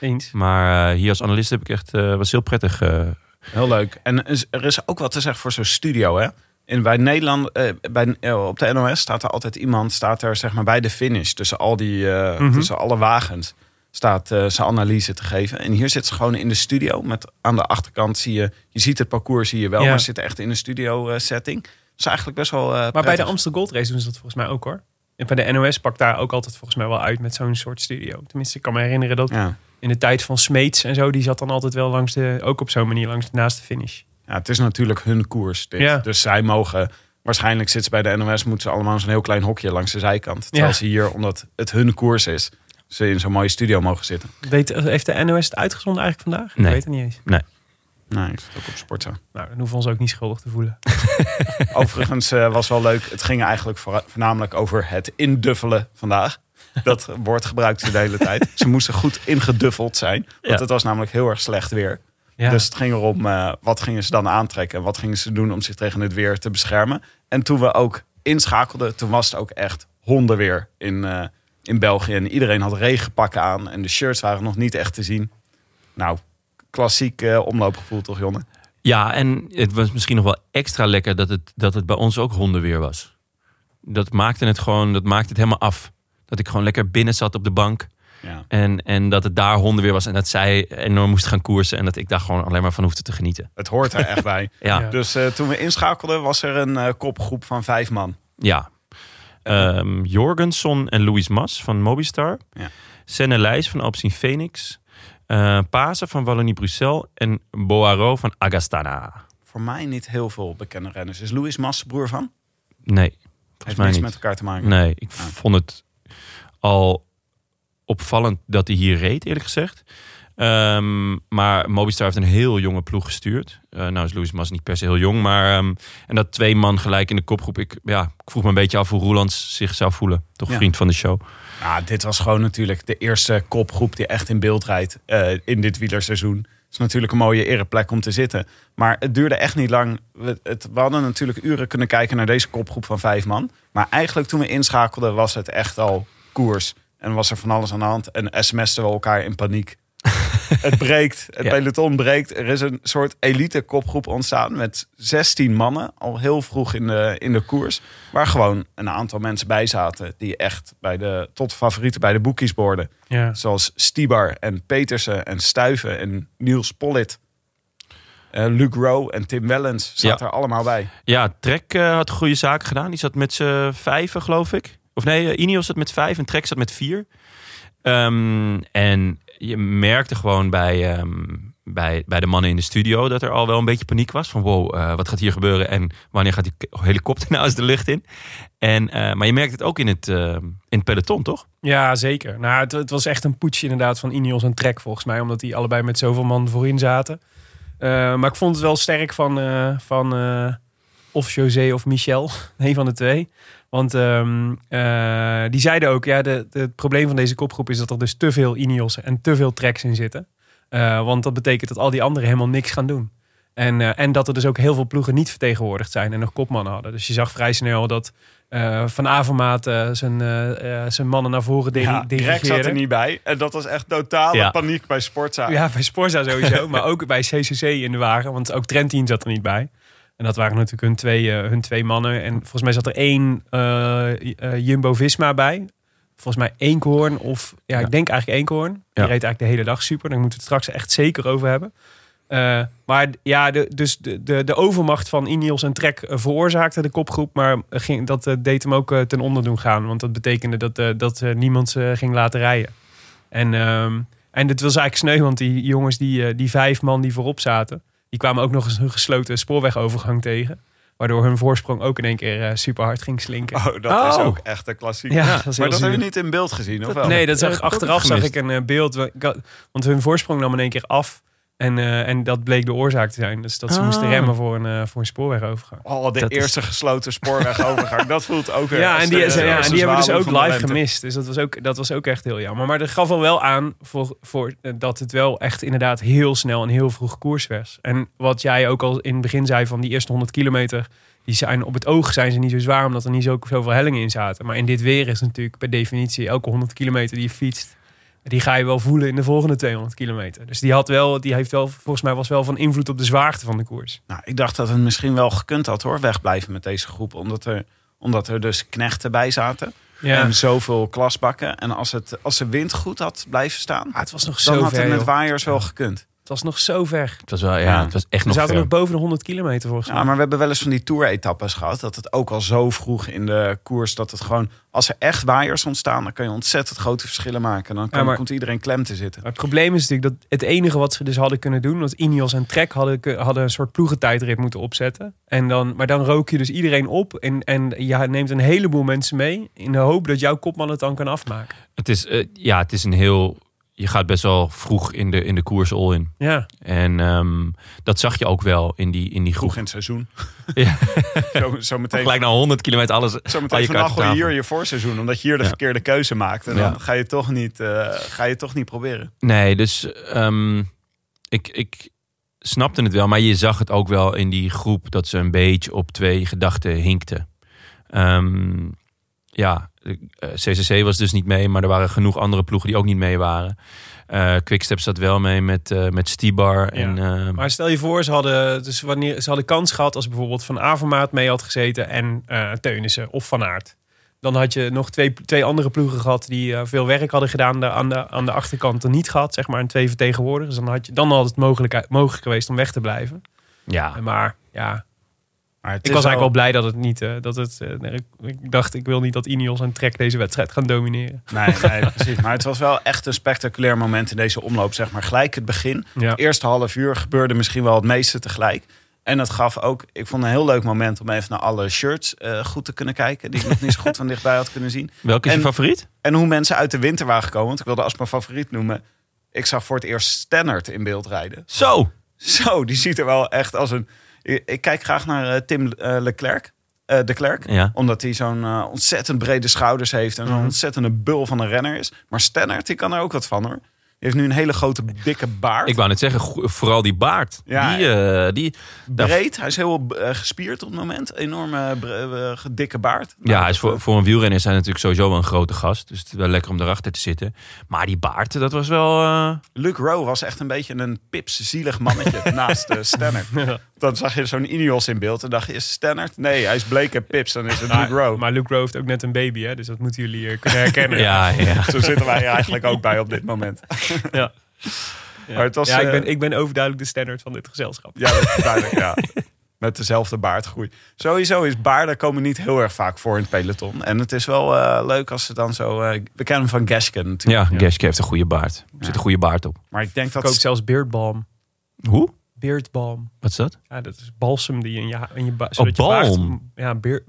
S1: Eens.
S2: Maar eh, hier als analist heb ik echt, eh, was heel prettig. eh,
S3: Heel leuk. En er is- er is ook wat te zeggen voor zo'n studio, hè? In, bij Nederland, eh, bij, eh, op de NOS staat er altijd iemand, staat er zeg maar bij de finish, tussen, al die, eh,
S1: Mhm.
S3: tussen alle wagens, staat eh, zijn analyse te geven. En hier zit ze gewoon in de studio, met aan de achterkant zie je, je ziet het parcours zie je wel,
S1: Ja.
S3: maar ze zitten echt in een studio eh, setting. Dat is eigenlijk best wel eh,
S1: Maar bij de
S3: prettig.
S1: Amsterdam Gold Race doen ze dat volgens mij ook hoor. En bij de NOS pakt daar ook altijd volgens mij wel uit met zo'n soort studio. Tenminste, ik kan me herinneren dat
S3: Ja.
S1: in de tijd van Smeets en zo, die zat dan altijd wel langs de, ook op zo'n manier langs de naast de finish.
S3: ja, het is natuurlijk hun koers dit.
S1: Ja.
S3: Dus zij mogen, waarschijnlijk zitten ze bij de NOS, moeten ze allemaal in zo'n heel klein hokje langs de zijkant. Terwijl
S1: Ja.
S3: ze hier, omdat het hun koers is, ze in zo'n mooie studio mogen zitten.
S1: Weet, heeft de NOS het uitgezonden eigenlijk vandaag?
S2: Nee.
S1: Ik weet het niet eens.
S3: Nee, ik zit ook op sporten.
S1: Nou, dan hoeven we ons ook niet schuldig te voelen.
S3: Overigens eh, was wel leuk. Het ging eigenlijk voor- voornamelijk over het induffelen vandaag. Dat woord gebruikt ze de hele tijd. Ze moesten goed ingeduffeld zijn. Want
S1: Ja.
S3: het was namelijk heel erg slecht weer.
S1: Ja.
S3: Dus het ging erom eh, wat gingen ze dan aantrekken. En wat gingen ze doen om zich tegen het weer te beschermen. En toen we ook inschakelden, toen was het ook echt hondenweer in, eh, in België. En iedereen had regenpakken aan. En de shirts waren nog niet echt te zien. Nou, klassiek eh, omloopgevoel toch, Jonne?
S2: Ja, en het was misschien nog wel extra lekker dat het, dat het bij ons ook hondenweer was. Dat maakte het gewoon, dat maakte het helemaal af. Dat ik gewoon lekker binnen zat op de bank.
S3: Ja.
S2: En, en dat het daar hondenweer was. En dat zij enorm moest gaan koersen. En dat ik daar gewoon alleen maar van hoefde te genieten.
S3: Het hoort er echt bij.
S2: Ja,
S1: Ja.
S2: ja.
S3: Dus eh, toen we inschakelden was er een eh, kopgroep van vijf man.
S2: Ehm, Jorgensen en Louis Mas van Mobistar.
S3: Ja.
S2: Senne Leijs van Alpsin Phoenix. eh Pasen van Wallonie-Bruxelles. En Boaro van Agastana.
S3: Voor mij niet heel veel bekende renners. Is Louis Mas broer van?
S2: Nee,
S3: Heeft
S2: volgens mij
S3: niks
S2: niet.
S3: met elkaar te maken.
S2: Nee, ik
S3: Ah.
S2: vond het al opvallend dat hij hier reed, eerlijk gezegd. Ehm, maar Mobistar heeft een heel jonge ploeg gestuurd. Eh, nou is Louis Mas niet per se heel jong, maar... ehm, en dat twee man gelijk in de kopgroep. Ik, ja, ik vroeg me een beetje af hoe Roelands zich zou voelen. Toch
S3: Ja.
S2: vriend van de show.
S3: Ja, Nou, dit was gewoon natuurlijk de eerste kopgroep die echt in beeld rijdt eh, in dit wielerseizoen. Het is natuurlijk een mooie ereplek om te zitten. Maar het duurde echt niet lang. We, het, we hadden natuurlijk uren kunnen kijken naar deze kopgroep van vijf man. Maar eigenlijk toen we inschakelden was het echt al koers. En was er van alles aan de hand. En sms'en we elkaar in paniek. het breekt. Het
S2: Ja.
S3: peloton breekt. Er is een soort elite kopgroep ontstaan met 16 mannen. Al heel vroeg in de, in de koers. Waar gewoon een aantal mensen bij zaten. Die echt bij de, tot favorieten bij de boekies behoorden.
S1: Ja.
S3: Zoals Stibar en Petersen en Stuiven en Niels Pollitt. eh Luc Rowe en Tim Wellens zaten er allemaal bij.
S2: Ja, Trek eh, had goede zaken gedaan. Die zat met z'n vijven, geloof ik. Of nee, eh, Ineos zat met vijf en Trek zat met vier. Ehm, en je merkte gewoon bij, ehm, bij, bij de mannen in de studio... dat er al wel een beetje paniek was. Van wow, eh, wat gaat hier gebeuren? En wanneer gaat die k- helikopter nou eens de lucht in? En, eh, maar je merkt het ook in het, eh, in het peloton, toch?
S1: Ja, zeker. Nou, het, het was echt een putsch inderdaad van Ineos en Trek volgens mij. Omdat die allebei met zoveel man voorin zaten. Eh, maar ik vond het wel sterk van, eh, van eh, of José of Michel. Een van de twee. Want ehm, eh, die zeiden ook, ja, de, de- het probleem van deze kopgroep is dat er dus te veel Ineos en te veel Treks in zitten. Eh, want dat betekent dat al die anderen helemaal niks gaan doen. En, eh, en dat er dus ook heel veel ploegen niet vertegenwoordigd zijn en nog kopmannen hadden. Dus je zag vrij snel dat eh, Van Avermaat eh, zijn, eh, eh, zijn mannen naar voren diri-
S3: Ja, Greg
S1: dirigeerde.
S3: zat er niet bij. En dat was echt totale
S2: Ja.
S3: paniek bij Sportza.
S1: Ja, bij Sporza sowieso, maar ook bij CCC in de wagen. Want ook Trentin zat er niet bij. En dat waren natuurlijk hun twee, eh, hun twee mannen. En volgens mij zat er één Jumbo Visma bij. Volgens mij Eekhoorn of ja,
S2: Ja.
S1: ik denk eigenlijk Eekhoorn. Die
S2: Ja.
S1: reed eigenlijk de hele dag super. Daar moeten we het straks echt zeker over hebben. Eh, maar d- ja, de, dus de, de, de overmacht van Ineos en Trek eh, veroorzaakte de kopgroep. Maar ging, dat eh, deed hem ook eh, ten onder doen gaan. Want dat betekende dat, eh, dat eh, niemand ze ging laten rijden. En, ehm, en dit was eigenlijk sneu, want die jongens, die, eh, die vijf man die voorop zaten... die kwamen ook nog eens een gesloten spoorwegovergang tegen. Waardoor hun voorsprong ook in één keer super hard ging slinken.
S3: Oh, dat is ook echt een klassiek.
S1: Ja, dat is heel
S3: maar dat
S1: zuur.
S3: hebben we niet in beeld gezien, of wel?
S1: Nee, dat zag,
S2: heb ik ook
S1: achteraf
S2: even
S1: zag ik
S2: gemist.
S1: een eh, beeld. wa- ik had- Want hun voorsprong nam in één keer af. En, eh, en dat bleek de oorzaak te zijn. Dus dat ze
S2: Ah.
S1: moesten remmen voor een, eh, voor een spoorwegovergang.
S3: Oh, de
S2: Dat is-
S3: eerste gesloten spoorwegovergang. dat voelt ook weer
S1: Ja,
S3: als
S1: en die,
S3: de-
S1: ze- ja,
S3: als
S1: en
S3: de
S1: die hebben dus
S3: zwaluw
S1: ook
S3: van de
S1: live
S3: lente.
S1: gemist. Dus dat was, ook, dat was ook echt heel jammer. Maar dat gaf wel wel aan voor, voor, eh, dat het wel echt inderdaad heel snel en heel vroeg koers was. En wat jij ook al in het begin zei van die eerste 100 kilometer. Die zijn, op het oog zijn ze niet zo zwaar omdat er niet zo, zoveel hellingen in zaten. Maar in dit weer is natuurlijk per definitie elke 100 kilometer die je fietst. Die ga je wel voelen in de volgende 200 kilometer. Dus die, had wel, die heeft wel, volgens mij was wel van invloed op de zwaarte van de koers.
S3: Nou, ik dacht dat het misschien wel gekund had hoor, wegblijven met deze groep. Omdat er, omdat er dus knechten bij zaten.
S1: Ja,
S3: En zoveel klasbakken. En als, het, als de wind goed had blijven staan,
S1: Ah, het was nog
S3: dan
S1: zo
S3: had
S1: ver.
S3: het met
S1: joh.
S3: waaiers wel gekund.
S1: Het was nog zo ver.
S2: Het was wel, ja,
S3: Ja.
S2: het was echt
S1: We
S2: nog
S1: zaten
S2: ver.
S1: nog boven de 100 kilometer volgens mij.
S3: Ja, maar we hebben wel eens van die tour-etappes gehad. Dat het ook al zo vroeg in de koers dat het gewoon... Als er echt waaiers ontstaan, dan kan je ontzettend grote verschillen maken. Dan kan,
S1: Ja, maar-
S3: komt iedereen klem te zitten.
S1: Maar het probleem is natuurlijk dat het enige wat ze dus hadden kunnen doen, want Ineos en Trek hadden, ku- hadden een soort ploegentijdrit moeten opzetten. En dan, maar dan rook je dus iedereen op en, en je neemt een heleboel mensen mee in de hoop dat jouw kopman het dan kan afmaken.
S2: Het is, eh, ja, het is een heel... Je gaat best wel vroeg in de, in de koers all in.
S1: Ja,
S2: En ehm, dat zag je ook wel in die, in die groep.
S3: Vroeg in het seizoen.
S2: Ja.
S3: Zo, zo meteen
S2: Gelijk na 100 kilometer alles
S3: Zo
S2: Al
S3: meteen
S2: je kaarten
S3: vandaag gooi
S2: op
S3: je
S2: tafel.
S3: hier je voorseizoen, omdat je hier de
S2: Ja.
S3: verkeerde keuze maakt. En dan
S2: Ja.
S3: ga, je toch niet, eh, ga je toch niet proberen.
S2: Nee, dus ehm, ik, ik snapte het wel. Maar je zag het ook wel in die groep dat ze een beetje op twee gedachten hinkten. Ehm, ja, de, eh, CCC was dus niet mee, maar er waren genoeg andere ploegen die ook niet mee waren. Eh Quickstep zat wel mee met, eh, met Stibar. En, ehm,
S1: maar stel je voor, ze hadden, dus wanneer, ze hadden kans gehad als bijvoorbeeld Van Avermaat mee had gezeten en eh Teunissen of Van Aert. Dan had je nog twee, twee andere ploegen gehad die eh, veel werk hadden gedaan daar aan de, aan de achterkant er niet gehad, zeg maar, en twee vertegenwoordigers. Dan had, je, dan had het mogelijk, mogelijk geweest om weg te blijven.
S2: ja,
S1: Maar ja,
S3: Maar het
S1: ik was
S3: is
S1: eigenlijk wel blij dat het niet. eh, dat het, eh, nee, ik, ik dacht, ik wil niet dat Ineos en Trek deze wedstrijd gaan domineren.
S3: Nee, nee, precies. Maar het was wel echt een spectaculair moment in deze omloop, zeg maar. Gelijk het begin.
S1: Ja.
S3: Het eerste half uur gebeurde misschien wel het meeste tegelijk. En dat gaf ook, ik vond een heel leuk moment om even naar alle shirts eh, goed te kunnen kijken. Die ik nog niet zo goed van dichtbij had kunnen zien.
S2: welke is
S3: en-
S2: je favoriet?
S3: En hoe mensen uit de winter waren gekomen. Want ik wilde als mijn favoriet noemen. Ik zag voor het eerst Stannard in beeld rijden.
S2: Zo!
S3: Zo, die ziet er wel echt als een. Ik, ik kijk graag naar eh, Tim eh, Leclerc. eh, de Klerk.
S2: Ja. Mhm.
S3: Omdat hij zo'n eh, ontzettend brede schouders heeft. En zo'n ontzettende bul van een renner is. Maar Stannard, die kan er ook wat van hoor. Die heeft nu een hele grote, dikke baard.
S2: Ik wou net zeggen, go- vooral die baard.
S3: Ja,
S2: die, eh, die, daar-
S3: Breed. Hij is heel eh, gespierd op het moment. Enorme, bre- eh, dikke baard. Nou,
S2: Ja, hij is voor, voor een wielrenner is hij natuurlijk sowieso wel een grote gast. Dus het is wel lekker om erachter te zitten. Maar die baard, dat was wel... eh,
S3: Luke Rowe was echt een beetje een pipszielig mannetje naast eh Stannard. Dan zag je zo'n Ineos in beeld en dacht je, is Stannard? Nee, hij is bleek en pips. Dan is het Luke Rowe.
S1: Maar Luke Rowe heeft ook net een baby, hè, dus dat moeten jullie eh, kunnen herkennen.
S2: ja, ja.
S3: Zo zitten wij er eigenlijk ook bij op dit moment.
S1: Ja.
S3: Maar het was,
S1: ja, ik
S3: eh,
S1: ben, ik ben overduidelijk de standaard van dit gezelschap.
S3: Ja, dat is duidelijk, ja. Met dezelfde baardgroei. Sowieso is baarden komen niet heel erg vaak voor in het peloton. En het is wel eh, leuk als ze dan zo... eh, we kennen hem van Gasken natuurlijk.
S2: ja Geschke heeft een goede baard. Er zit een goede baard op.
S3: Maar ik denk
S1: Ik koop
S3: dat...
S1: zelfs beardbalm.
S2: Hoe?
S1: Beardbalm.
S2: Wat is dat?
S1: Ja, dat is balsem die in je, ha- in je, ba- zodat je
S2: Oh, balm.
S1: baard- Ja, beer,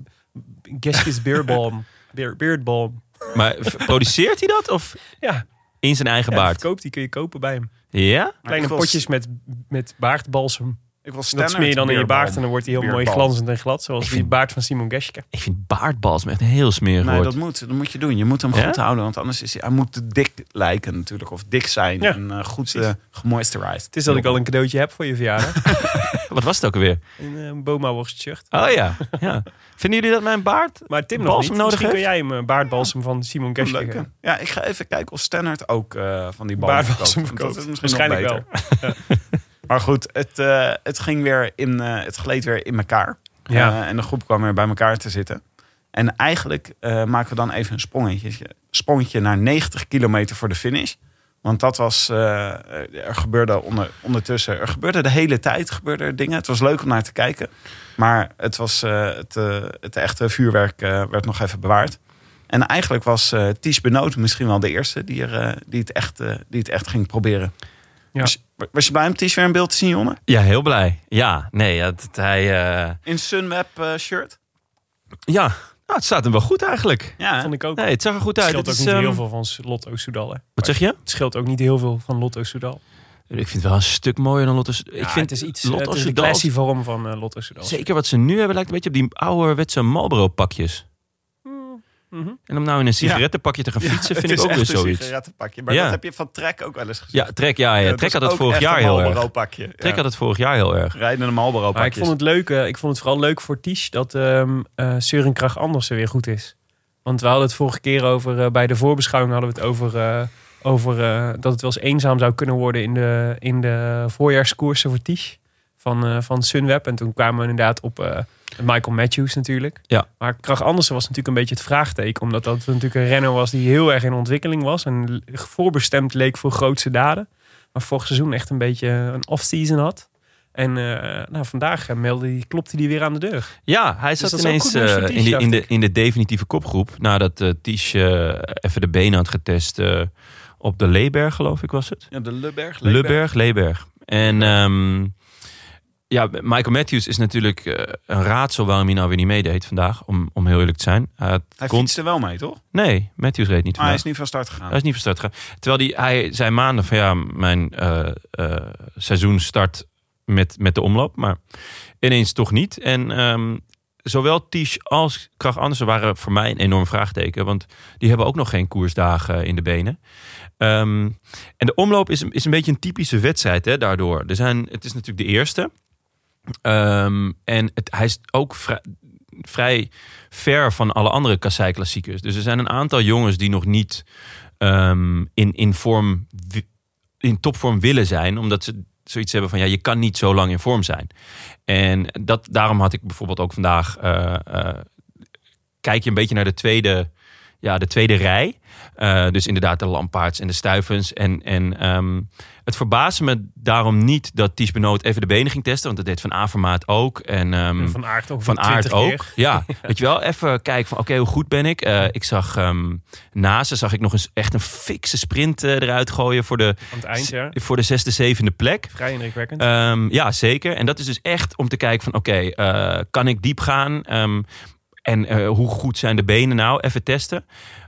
S1: Geskis beardbalm. Beer, beardbalm.
S2: Maar v- produceert hij dat? Of
S1: Ja,
S2: in zijn eigen
S1: ja
S2: baard?
S1: verkoopt, die kun je kopen bij hem.
S2: Ja?
S1: Kleine
S3: ik wil-
S1: potjes met, met baardbalsem.
S3: Ik wil
S1: Dat smeer je dan in je baard en dan wordt hij heel mooi
S3: Beerbalm.
S1: glanzend en glad. Zoals die baard van Simon Geschke.
S2: Ik vind baardbalsem echt een heel smerig
S3: Nee,
S2: woord.
S3: dat moet, dat moet je doen. Je moet hem
S2: Ja?
S3: goed houden, want anders is hij, hij moet dik lijken natuurlijk. Of dik zijn
S1: Ja,
S3: en eh, goed eh, gemoisturized.
S1: Het is dat ik al een cadeautje heb voor je verjaardag.
S2: Wat was het ook alweer?
S1: een eh, Boma-worst shirt.
S2: Oh ja. ja. Vinden jullie dat mijn baard?
S1: Maar Tim nog
S2: Balsem
S1: niet.
S2: nodig
S1: Misschien kun
S2: heeft?
S1: jij hem eh, baardbalsem van Simon
S3: Een
S1: Geschke
S3: leuke.
S1: geven.
S3: Ja, ik ga even kijken of Stannard ook eh, van die
S1: Baardbalsem
S3: baardbalsem verkoopt.
S1: verkoopt.
S3: Dat is misschien nog
S1: Waarschijnlijk
S3: beter.
S1: wel.
S3: Maar goed, het, eh, het, ging weer in, eh, het gleed weer in elkaar.
S2: Ja.
S3: Eh, en de groep kwam weer bij elkaar te zitten. En eigenlijk eh, maken we dan even een sprongetje, sprongetje naar 90 kilometer voor de finish. Want dat was, eh, er gebeurde onder, ondertussen, er gebeurde de hele tijd gebeurde er dingen. Het was leuk om naar te kijken. Maar het, was, eh, het, eh, het echte vuurwerk eh, werd nog even bewaard. En eigenlijk was eh Ties Benoot misschien wel de eerste die, er, eh, die, het, echt, eh, die het echt ging proberen.
S1: Ja.
S3: Was, was je blij om Ties weer in beeld te zien, Jonne?
S2: Ja, heel blij. Ja, nee, ja, dat hij... eh,
S3: In Sunweb eh, shirt?
S2: ja, nou, het staat hem wel goed eigenlijk.
S3: Ja,
S1: Vond ik ook.
S2: Nee, het zag er goed
S1: het
S2: uit.
S1: scheelt
S2: Dit
S1: ook
S2: is,
S1: niet heel
S2: ehm,
S1: veel van Lotto Soudal. Hè.
S2: Wat zeg je?
S1: Het scheelt ook niet heel veel van Lotto Soudal.
S2: Ik vind het wel een stuk mooier dan Lotto. ik
S1: Ja,
S2: vind
S1: het is iets.
S2: Lotto
S1: het is de
S2: Soudal-
S1: classy vorm van eh, Lotto Soudal.
S2: Zeker wat ze nu hebben lijkt een beetje op die ouderwetse Marlboro pakjes.
S1: Mhm.
S2: En om nou in een sigarettenpakje te gaan fietsen vind ik ook weer zoiets.
S3: sigarettenpakje. Maar
S2: Ja.
S3: dat heb je van Trek ook wel eens gezien.
S2: Ja, Trek, ja, ja. Trek had
S3: dat
S2: het vorig jaar heel erg.
S3: pakje.
S2: Trek had het vorig jaar heel erg.
S3: Rijdende
S1: Maar
S3: Marlboro
S1: ik
S3: pakjes.
S1: vond het leuk. eh, ik vond het vooral leuk voor Ties dat ehm eh Sørenkracht Andersen weer goed is. Want we hadden het vorige keer over eh, bij de voorbeschouwing hadden we het over, eh, over eh, dat het wel eens eenzaam zou kunnen worden in de, in de voorjaarskoersen voor Ties van, eh, van Sunweb. En toen kwamen we inderdaad op eh, Michael Matthews natuurlijk.
S2: Ja.
S1: Maar Krach Andersen was natuurlijk een beetje het vraagteken. Omdat dat natuurlijk een renner was die heel erg in ontwikkeling was. En l- voorbestemd leek voor grootse daden. Maar vorig seizoen echt een beetje een off-season had. En eh, nou, vandaag eh, meldde hij, klopte hij weer aan de deur.
S2: Ja, hij
S1: Dus
S2: zat
S1: dat is ook
S2: ineens
S1: goed nieuws voor
S2: eh,
S1: Ties,
S2: in, de,
S1: dacht
S2: in, de, in de definitieve kopgroep. Nadat eh Ties eh, even de benen had getest eh, op de Leeberg, geloof ik was het.
S3: Ja, de Lubberg.
S2: Leeberg, Leeberg. En ehm, ja, Michael Matthews is natuurlijk eh, een raadsel waarom hij nou weer niet meedeed vandaag. Om, om heel eerlijk te zijn. Hij had
S3: Hij
S2: kon-
S3: fietste wel mee, toch?
S2: Nee, Matthews reed niet
S3: Maar
S2: vandaag.
S3: hij is niet van start gegaan.
S2: Hij is niet van start gegaan. Terwijl die, hij zei maanden van ja, mijn eh, eh, seizoen start met, met de omloop. Maar ineens toch niet. En ehm, zowel Tisch als Krach Andersen waren voor mij een enorm vraagteken. Want die hebben ook nog geen koersdagen in de benen. Ehm, en de omloop is, een- is een beetje een typische wedstrijd hè, daardoor. Er zijn, het is natuurlijk de eerste. Ehm, en het, hij is ook vrij, vrij ver van alle andere kassei-klassiekers. Dus er zijn een aantal jongens die nog niet ehm, in, in, vorm, wi- in topvorm willen zijn. Omdat ze zoiets hebben van, ja, je kan niet zo lang in vorm zijn. En dat, daarom had ik bijvoorbeeld ook vandaag... eh, eh, kijk je een beetje naar de tweede, ja, de tweede rij. Eh, dus inderdaad de Lampaards en de Stuivens. En, en ehm, het verbaasde me daarom niet dat Ties Benoot even de benen ging testen. Want dat deed Van Avermaat ook. En, ehm,
S1: Van Aert ook.
S2: van aard ook.
S1: Keer.
S2: Ja, weet je wel, even kijken van oké, hoe goed ben ik? Eh, ik zag ehm naast, zag ik nog eens echt een fikse sprint eh, eruit gooien voor de,
S1: Aan het eind, ja.
S2: voor de zesde, zevende plek.
S1: Vrij indrukwekkend.
S2: Ehm, ja, zeker. En dat is dus echt om te kijken van oké, eh, kan ik diep gaan? Ehm, en eh, hoe goed zijn de benen nou? Even testen.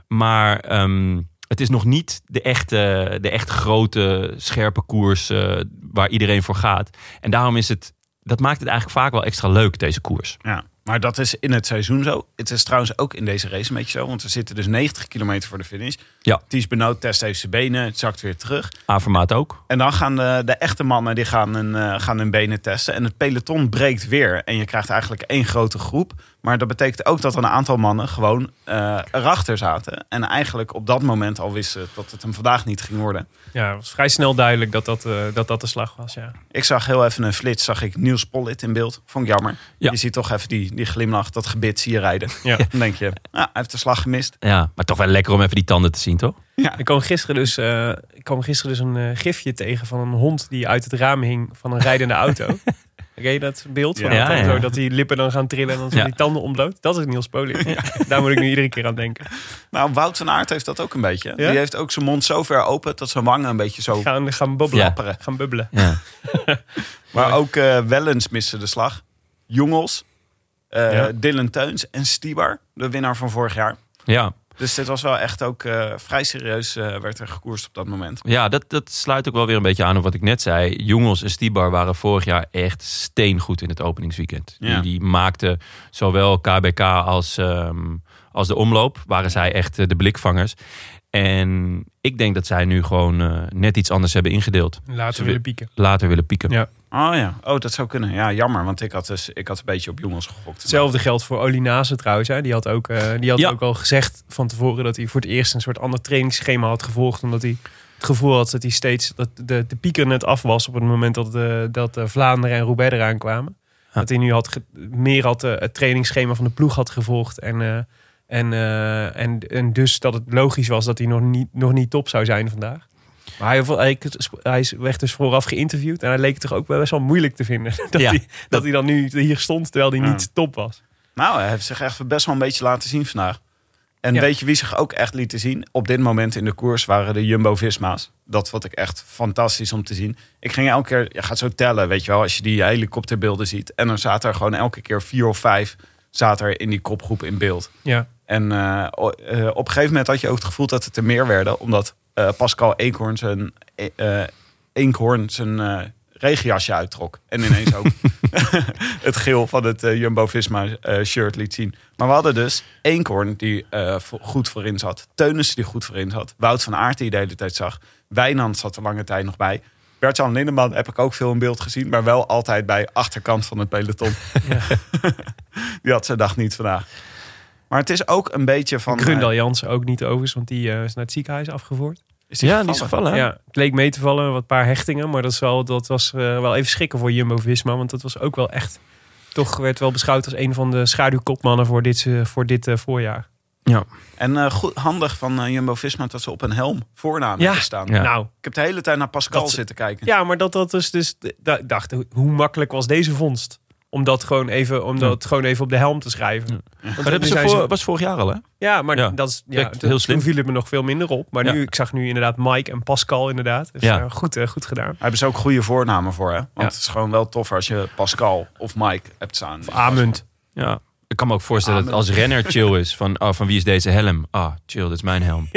S2: Maar ehm, het is nog niet de echte, de echt grote, scherpe koers eh, waar iedereen voor gaat. En daarom is het, dat maakt het eigenlijk vaak wel extra leuk, deze koers.
S3: Ja, maar dat is in het seizoen zo. Het is trouwens ook in deze race een beetje zo. Want we zitten dus 90 kilometer voor de finish.
S2: Ja.
S3: Ties Benoot test even zijn benen. Het zakt weer terug.
S2: A-formaat ook.
S3: En dan gaan eh, de, de echte mannen die gaan hun, eh, gaan hun benen testen. En het peloton breekt weer. En je krijgt eigenlijk één grote groep. Maar dat betekent ook dat een aantal mannen gewoon eh, erachter zaten. En eigenlijk op dat moment al wisten dat het hem vandaag niet ging worden.
S1: Ja, het was vrij snel duidelijk dat dat, eh, dat, dat de slag was, ja.
S3: Ik zag heel even een flits, zag ik Niels Pollitt in beeld. Vond ik jammer.
S2: Ja.
S3: Je ziet toch even die, die glimlach, dat gebit zie je rijden.
S1: Ja.
S3: Dan denk je, nou, hij heeft de slag gemist.
S2: Ja, maar toch wel lekker om even die tanden te zien, toch?
S1: Ik kwam gisteren dus, eh, ik kwam gisteren dus een eh, gifje tegen van een hond die uit het raam hing van een rijdende auto. Ken je dat beeld van
S2: Ja,
S1: dat, dan
S2: ja.
S1: Zo, dat die lippen dan gaan trillen en dan zo
S2: Ja.
S1: die tanden omloot? Dat is Niels Poling. Daar moet ik nu iedere keer aan denken.
S3: Nou, Wout van Aert heeft dat ook een beetje.
S1: Ja?
S3: Die heeft ook zijn mond zo ver open dat zijn wangen een beetje zo
S1: Gaan, gaan bubbelen.
S3: flapperen.
S1: Gaan bubbelen.
S2: Ja.
S3: Maar ook eh Wellens miste de slag. Jongels, eh,
S1: Ja.
S3: Dylan Teuns en Stibar, de winnaar van vorig jaar.
S2: Ja,
S3: Dus dit was wel echt ook eh, vrij serieus eh, werd er gekoerst op dat moment.
S2: ja dat, dat sluit ook wel weer een beetje aan op wat ik net zei. Jongels en Stibar waren vorig jaar echt steengoed in het openingsweekend.
S3: Ja.
S2: Die, die maakten zowel KBK als, ehm, als de omloop, waren zij echt eh, de blikvangers. En ik denk dat zij nu gewoon eh, net iets anders hebben ingedeeld.
S1: Later
S2: weer
S1: weer pieken.
S2: Later willen pieken.
S1: Ja.
S3: Oh ja, oh, dat zou kunnen. Ja, jammer, want ik had, dus, ik had een beetje op jongens gegokt.
S1: Hetzelfde geldt voor Oli Nase trouwens. Hè. Die had, ook, eh, die had
S2: Ja.
S1: ook al gezegd van tevoren dat hij voor het eerst een soort ander trainingsschema had gevolgd. Omdat hij het gevoel had dat hij steeds dat de, de pieker net af was op het moment dat, eh, dat eh, Vlaanderen en Roubaix eraan kwamen. Dat hij nu had ge- meer had, eh, het trainingsschema van de ploeg had gevolgd. En, eh, en, eh, en, en dus dat het logisch was dat hij nog niet, nog niet top zou zijn vandaag. Maar hij, hij, hij is- werd dus vooraf geïnterviewd. En hij leek het toch ook wel best wel moeilijk te vinden. Dat,
S2: Ja.
S1: hij, dat hij dan nu hier stond terwijl hij
S3: Ja.
S1: niet top was.
S3: Nou, hij heeft zich echt best wel een beetje laten zien vandaag. En
S1: Ja.
S3: weet je wie zich ook echt liet zien? Op dit moment in de koers waren de Jumbo-Visma's. Dat vond ik echt fantastisch om te zien. Ik ging elke keer, je gaat zo tellen, weet je wel, als je die helikopterbeelden ziet. En dan zaten er gewoon elke keer vier of vijf zaten er in die kopgroep in beeld.
S1: Ja.
S3: En eh, o- eh, op een gegeven moment had je ook het gevoel dat het er meer werden. Omdat eh, Pascal Eekhoorn zijn, eh, eh, Eekhoorn zijn eh, regenjasje uittrok. En ineens ook het geel van het eh, Jumbo-Visma eh, shirt liet zien. Maar we hadden dus Eekhoorn die eh, vo- goed voorin zat. Teunissen die goed voorin zat. Wout van Aert die je de hele tijd zag. Wijnand zat er lange tijd nog bij. Bert-Jan Lindeman heb ik ook veel in beeld gezien. Maar wel altijd bij achterkant van het peloton. die had zijn dag niet vandaag. Maar het is ook een beetje van... eh,
S1: Grundal Jansen ook niet overigens, want die eh, is naar het ziekenhuis afgevoerd.
S3: eh, is die
S2: Ja, die is
S3: gevallen?
S2: gevallen. hè?
S1: Ja, het leek mee te vallen, wat paar hechtingen. Maar dat, is wel, dat was eh, wel even schrikken voor Jumbo-Visma. Want dat was ook wel echt... Toch werd wel beschouwd als een van de schaduwkopmannen voor dit, eh, voor dit eh, voorjaar.
S3: En eh, goed, handig van Jumbo Visma dat ze op een helm voornaam
S1: Ja.
S3: hebben staan.
S2: Ja.
S1: Nou,
S3: Ik heb de hele tijd naar Pascal
S1: Dat ze-
S3: zitten kijken.
S1: ja, maar dat, dat is dus... da- Ik dacht, hoe- hoe makkelijk was deze vondst? Om dat gewoon even, om dat gewoon even op de helm te schrijven.
S2: Ja.
S1: Want
S2: Maar dat hebben
S1: nu
S2: ze
S1: zijn
S2: voor, was vorig jaar al, hè?
S1: Ja, maar
S2: Ja.
S1: dat is ja,
S2: Kijk, heel slim.
S1: Toen viel het me nog veel minder op. Maar
S2: Ja.
S1: nu, ik zag nu inderdaad Mike en Pascal inderdaad. Dus
S2: Ja.
S1: eh, goed, eh, goed gedaan.
S3: Daar hebben ze ook goede voornamen voor, hè? Want het is gewoon wel toffer als je Pascal of Mike hebt staan.
S1: Amunt.
S2: Ja. Ik kan me ook voorstellen dat
S3: Ah, maar-
S2: als renner chill is van, ah, van wie is deze helm? Ah, chill, dit is mijn helm.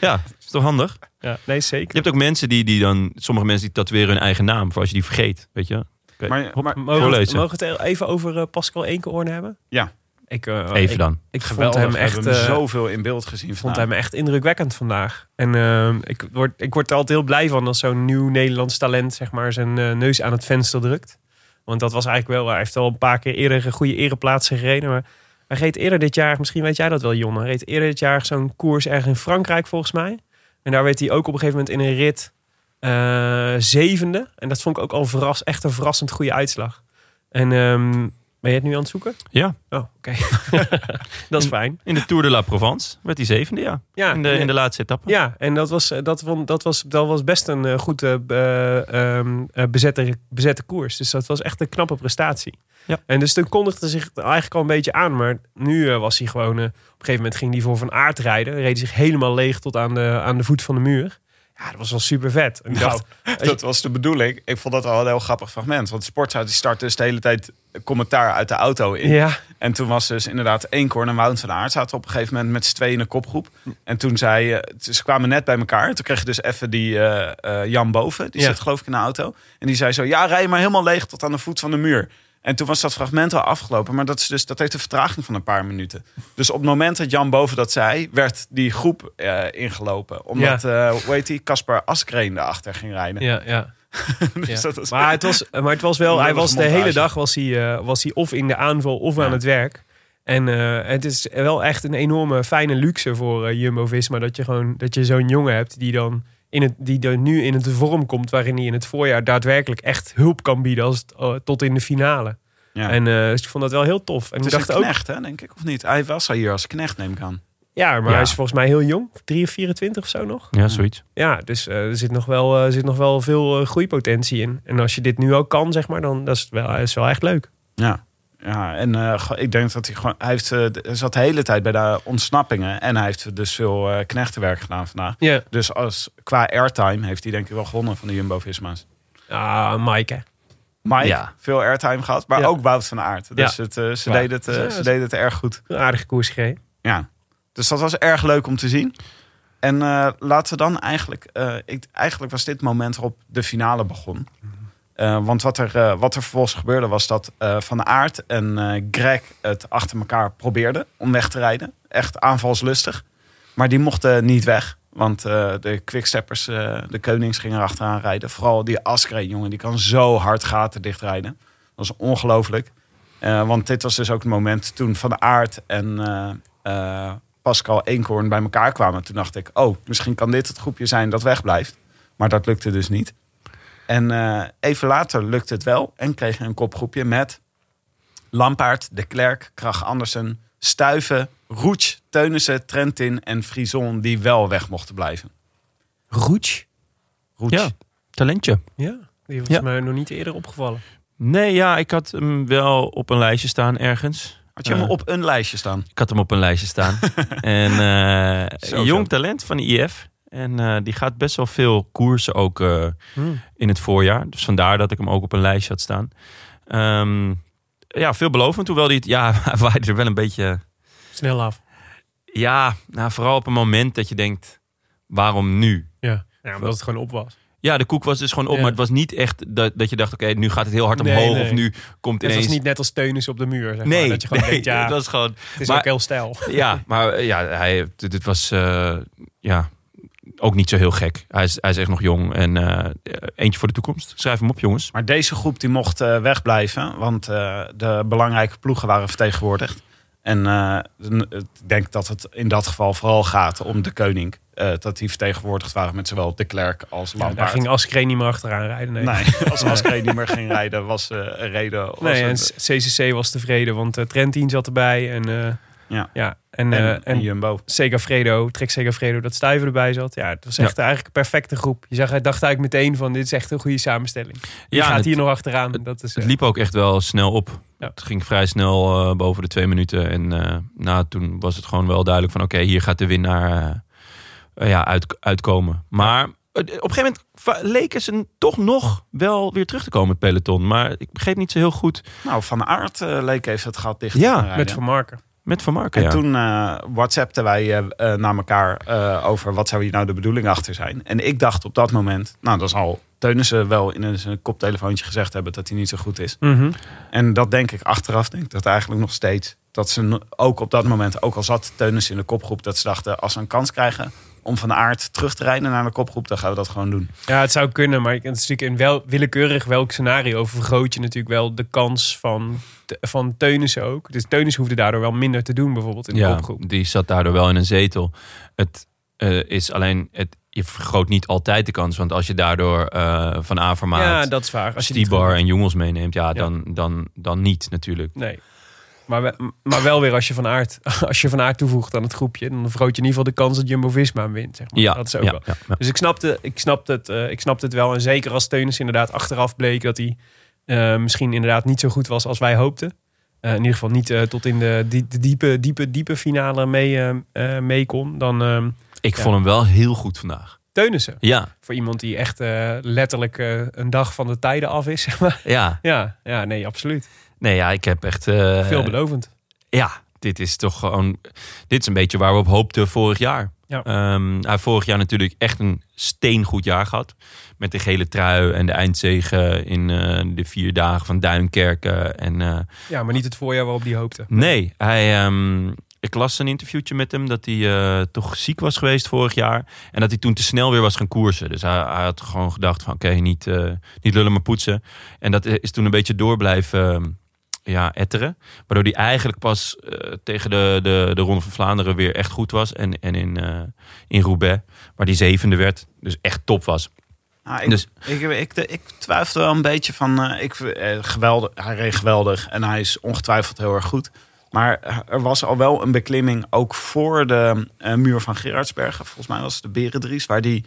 S2: Ja, is toch handig?
S1: Ja, nee, zeker.
S2: Je hebt ook mensen die, die dan, sommige mensen die tatoeëren hun eigen naam, voor als je die vergeet, weet je. Oké,
S3: Maar,
S2: hop,
S3: maar
S1: Mogen we, het,
S2: voorlezen.
S1: mogen we het even over eh, Pascal Eenkhoorn hebben?
S3: Ja.
S1: Ik, eh,
S2: Even
S1: ik,
S2: dan.
S1: ik vond
S3: geweldig,
S1: hem
S3: we hebben
S1: echt,
S3: hem
S1: eh,
S3: zoveel in beeld gezien
S1: vond
S2: Ah.
S3: vandaag.
S1: hem echt indrukwekkend vandaag. En eh, ik, word, ik word er altijd heel blij van als zo'n nieuw Nederlands talent zeg maar, zijn eh, neus aan het venster drukt. Want dat was eigenlijk wel... Hij heeft al een paar keer eerder een goede ereplaatsen gereden. Maar hij reed eerder dit jaar... Misschien weet jij dat wel, Jon. Hij reed eerder dit jaar zo'n koers ergens in Frankrijk volgens mij. En daar werd hij ook op een gegeven moment in een rit eh, zevende. En dat vond ik ook al verras, echt een verrassend goede uitslag. En ehm, ben je het nu aan het zoeken?
S2: Ja.
S1: Oh, oké. dat is fijn.
S2: In de Tour de la Provence werd hij zevende, ja.
S1: Ja,
S2: In de, in de laatste etappe.
S1: ja, en dat was, eh, dat, vond- dat was, dat was best een eh, goed eh, b- eh, ehm, eh, bezette, bezette koers. Dus dat was echt een knappe prestatie.
S2: Ja.
S1: En dus toen kondigde zich het eigenlijk al een beetje aan. Maar nu eh, was hij gewoon... eh, op een gegeven moment ging hij voor Van Aert rijden. Reed hij zich helemaal leeg tot aan de, aan de voet van de muur. Ja, dat was wel super vet. Ik
S3: Nou,
S1: dacht,
S3: Dat was de bedoeling. Ik vond dat al een heel grappig fragment. Want Sportza die start dus de hele tijd commentaar uit de auto in.
S1: ja,
S3: En toen was dus inderdaad Eenkorn en Wout van Aert zaten op een gegeven moment met z'n tweeën in een kopgroep. En toen zei, eh, ze kwamen net bij elkaar. En toen kreeg je dus even die eh, eh, Jan Boven, die
S1: Ja.
S3: zit geloof ik in de auto. En die zei zo, ja rij maar helemaal leeg tot aan de voet van de muur. En toen was dat fragment al afgelopen. Maar dat, is dus, dat heeft een vertraging van een paar minuten. Dus op het moment dat Jan Boven dat zei, werd die groep eh, ingelopen. Omdat, eh hoe heet die, Kasper Askreen erachter ging rijden.
S1: ja, ja.
S3: Dus
S1: Ja.
S3: dat was-
S1: Maar het was, maar het was wel, hij was de
S3: montage.
S1: hele dag was hij, eh, was hij of in de aanval of
S3: Ja.
S1: aan het werk. En eh, het is wel echt een enorme fijne luxe voor eh, Jumbo Visma dat je gewoon dat je zo'n jongen hebt die dan in het, die dan nu in het vorm komt waarin hij in het voorjaar daadwerkelijk echt hulp kan bieden als het, eh, tot in de finale.
S3: Ja.
S1: En eh, dus ik vond dat wel heel tof. En ik
S3: het is
S1: dacht
S3: een
S1: ook,
S3: knecht, hè, denk ik, of niet? Hij was al hier als knecht, neem ik aan.
S1: ja, maar
S2: Ja.
S1: hij is volgens mij heel jong, 3 of 24 of zo nog.
S2: Ja, zoiets.
S1: Ja, dus eh, er zit nog wel, eh, zit nog wel veel eh, groeipotentie in. En als je dit nu ook kan, zeg maar, dan dat is wel, is wel echt leuk.
S3: Ja, ja en eh, ge- ik denk dat hij gewoon. Hij heeft, eh, d- zat de hele tijd bij de ontsnappingen. En hij heeft dus veel eh, knechtenwerk gedaan vandaag.
S1: Ja.
S3: Dus als, qua airtime heeft hij denk ik wel gewonnen van de Jumbo Visma's.
S1: Ah, Mike. hè.
S3: Mike,
S2: Ja.
S3: veel airtime gehad, maar
S1: Ja.
S3: ook Wout van Aert. Dus het, eh, ze,
S1: Waar.
S3: deed het, eh,
S1: Ja,
S3: ze
S1: dat-
S3: deden het erg goed.
S1: Een aardige koers gereden.
S3: Ja. Dus dat was erg leuk om te zien. En eh, laten we dan eigenlijk... eh, ik, eigenlijk was dit het moment waarop de finale begon. Eh, want wat er, eh, wat er vervolgens gebeurde was dat eh, Van Aert en eh, Greg het achter elkaar probeerden om weg te rijden. Echt aanvalslustig. Maar die mochten niet weg. Want eh, de quicksteppers, eh, de konings gingen erachteraan rijden. Vooral die Askreen, jongen, die kan zo hard gaten dichtrijden. Dat is ongelooflijk. Eh, want dit was dus ook het moment toen Van Aert en eh, eh, Pascal Eenkhoorn bij elkaar kwamen. Toen dacht ik, oh, misschien kan dit het groepje zijn dat wegblijft. Maar dat lukte dus niet. En eh, even later lukte het wel en kreeg je een kopgroepje met Lampaard, De Klerk, Krach Andersen, Stuiven, Roets, Teunissen, Trentin en Frison die wel weg mochten blijven.
S2: Roets?
S3: Roets.
S2: Ja, talentje.
S1: Ja, die was
S2: Ja.
S1: mij nog niet eerder opgevallen.
S2: Nee, ja, ik had hem wel op een lijstje staan ergens.
S3: Had je hem op een lijstje staan?
S2: Ik had hem op een lijstje staan. en eh,
S3: Zo,
S2: jong
S3: zo.
S2: talent van de IF. En eh, die gaat best wel veel koersen ook eh, in het voorjaar. Dus vandaar dat ik hem ook op een lijstje had staan. Ehm, ja, veelbelovend. Hoewel die het, ja, hij waaide er wel een beetje...
S1: Snel af.
S2: Ja, nou, vooral op een moment dat je denkt, waarom nu?
S1: Ja. ja, omdat het gewoon op was.
S2: Ja, de koek was dus gewoon op,
S1: Ja.
S2: maar het was niet echt dat, dat je dacht, oké, nu gaat het heel hard
S1: Nee,
S2: omhoog
S1: nee.
S2: of nu komt
S1: Het
S2: ineens...
S1: was niet net als teunissen op de muur. Zeg
S2: nee,
S1: maar, dat je gewoon
S2: nee,
S1: denkt, ja,
S2: het was gewoon...
S1: het is
S2: maar-
S1: ook heel stijl.
S2: Ja, maar eh, ja, hij, dit, dit was eh, ja, ook niet zo heel gek. Hij is, hij is echt nog jong en eh, eentje voor de toekomst. Schrijf hem op, jongens.
S3: Maar deze groep die mocht eh, wegblijven, want eh, de belangrijke ploegen waren vertegenwoordigd. En eh, n- ik denk dat het in dat geval vooral gaat om de koning. eh, dat die vertegenwoordigd waren met zowel de klerk als
S1: Ja, Nou, daar
S3: Lampaard.
S1: ging Askreen niet meer achteraan rijden. Nee.
S3: Nee, als Askreen niet meer ging rijden was eh, een reden. was
S1: Nee, en
S3: een-
S1: CCC was tevreden, want eh, Trentin zat erbij. En, eh,
S3: Ja.
S1: ja, en,
S3: en,
S1: eh,
S3: en
S1: en
S3: Jumbo.
S1: Segafredo, Trek Segafredo, dat Stuiven erbij zat. Ja,
S3: dus,
S1: het was echt eigenlijk een perfecte groep. Je zag, hij dacht eigenlijk meteen van, dit is echt een goede samenstelling. Die
S2: Ja,
S1: gaat
S2: het,
S1: hier nog achteraan. Dat is, eh,
S2: het liep ook echt wel snel op.
S1: Ja.
S2: Het ging vrij snel eh, boven de twee minuten. En eh, nou, toen was het gewoon wel duidelijk van... oké, hier gaat de winnaar eh, eh, ja, uit, uitkomen. Maar eh, op een gegeven moment va- leken ze toch nog wel weer terug te komen, het peloton. Maar ik begreep niet zo heel goed
S3: Nou, Van Aert eh, leek even het gat dicht
S2: Ja,
S3: te gaan rijden.
S1: met Van Marken.
S2: met Van Marken.
S3: En
S2: ja.
S3: toen eh whatsappten wij eh, eh, naar elkaar eh, over wat zou hier nou de bedoeling achter zijn. En ik dacht op dat moment, nou dat zal Teunissen wel in een- zijn koptelefoontje gezegd hebben dat hij niet zo goed is.
S1: Mhm.
S3: En dat denk ik achteraf, denk ik dat eigenlijk nog steeds. Dat ze no- ook op dat moment, ook al zat Teunissen in de kopgroep, dat ze dachten als ze een kans krijgen om van aard terug te rijden naar de kopgroep, dan gaan we dat gewoon doen.
S1: Ja, het zou kunnen, maar het is natuurlijk in wel, willekeurig welk scenario vergroot je natuurlijk wel de kans van, van Teunissen ook. Dus Teunissen hoefde daardoor wel minder te doen bijvoorbeeld in de
S2: ja,
S1: kopgroep.
S2: die zat daardoor wel in een zetel. Het eh, is alleen, het, je vergroot niet altijd de kans. Want als je daardoor eh, Van
S1: ja,
S2: Avermaat,
S1: dat is waar. Als je die
S2: Stibar en Jongels meeneemt, ja,
S1: Ja.
S2: Dan, dan, dan niet natuurlijk.
S1: Nee. Maar, we- maar wel weer als je van aard, als je van aard toevoegt aan het groepje, dan vergroot je in ieder geval de kans dat Jumbo Visma hem wint. Zeg maar.
S2: Ja,
S1: dat is ook
S2: ja,
S1: wel.
S2: ja, ja.
S1: Dus ik snapte, ik, snapte het, eh, ik snapte het wel. En zeker als Teunis inderdaad achteraf bleek dat hij eh, misschien inderdaad niet zo goed was als wij hoopten. Eh, in ieder geval niet eh, tot in de, die- de diepe, diepe, diepe finale mee, eh, eh, mee kon. Dan ehm
S2: Ik
S1: Ja.
S2: vond hem wel heel goed vandaag.
S1: Teunissen.
S2: Ja,
S1: Voor iemand die echt eh, letterlijk eh, een dag van de tijden af is. zeg maar.
S2: ja.
S1: ja, ja, nee, absoluut.
S2: Nee, ja, ik heb echt... eh,
S1: Veelbelovend.
S2: ja, dit is toch gewoon. Dit is een beetje waar we op hoopten vorig jaar.
S1: Ja.
S2: Ehm, hij heeft vorig jaar natuurlijk echt een steengoed jaar gehad. Met de gele trui en de eindzegen in eh, de vier dagen van Duinkerken. En, eh,
S1: Ja, maar niet het voorjaar waarop die hoopte.
S2: nee, hij, ehm, ik las een interviewtje met hem dat hij eh, toch ziek was geweest vorig jaar. En dat hij toen te snel weer was gaan koersen. Dus hij, hij had gewoon gedacht van oké, niet, eh, niet lullen maar poetsen. En dat is toen een beetje door blijven ehm, ja, etteren. Waardoor hij eigenlijk pas eh, tegen de, de, de Ronde van Vlaanderen weer echt goed was. En, en in, eh, in Roubaix, waar die zevende werd. Dus echt top was.
S3: Nou, ik,
S2: Dus-
S3: ik, ik, ik twijfelde wel een beetje van. eh, ik, eh, geweldig, hij reed geweldig en hij is ongetwijfeld heel erg goed. Maar er was al wel een beklimming ook voor de eh, muur van Gerardsbergen. Volgens mij was het de Berendries, waar die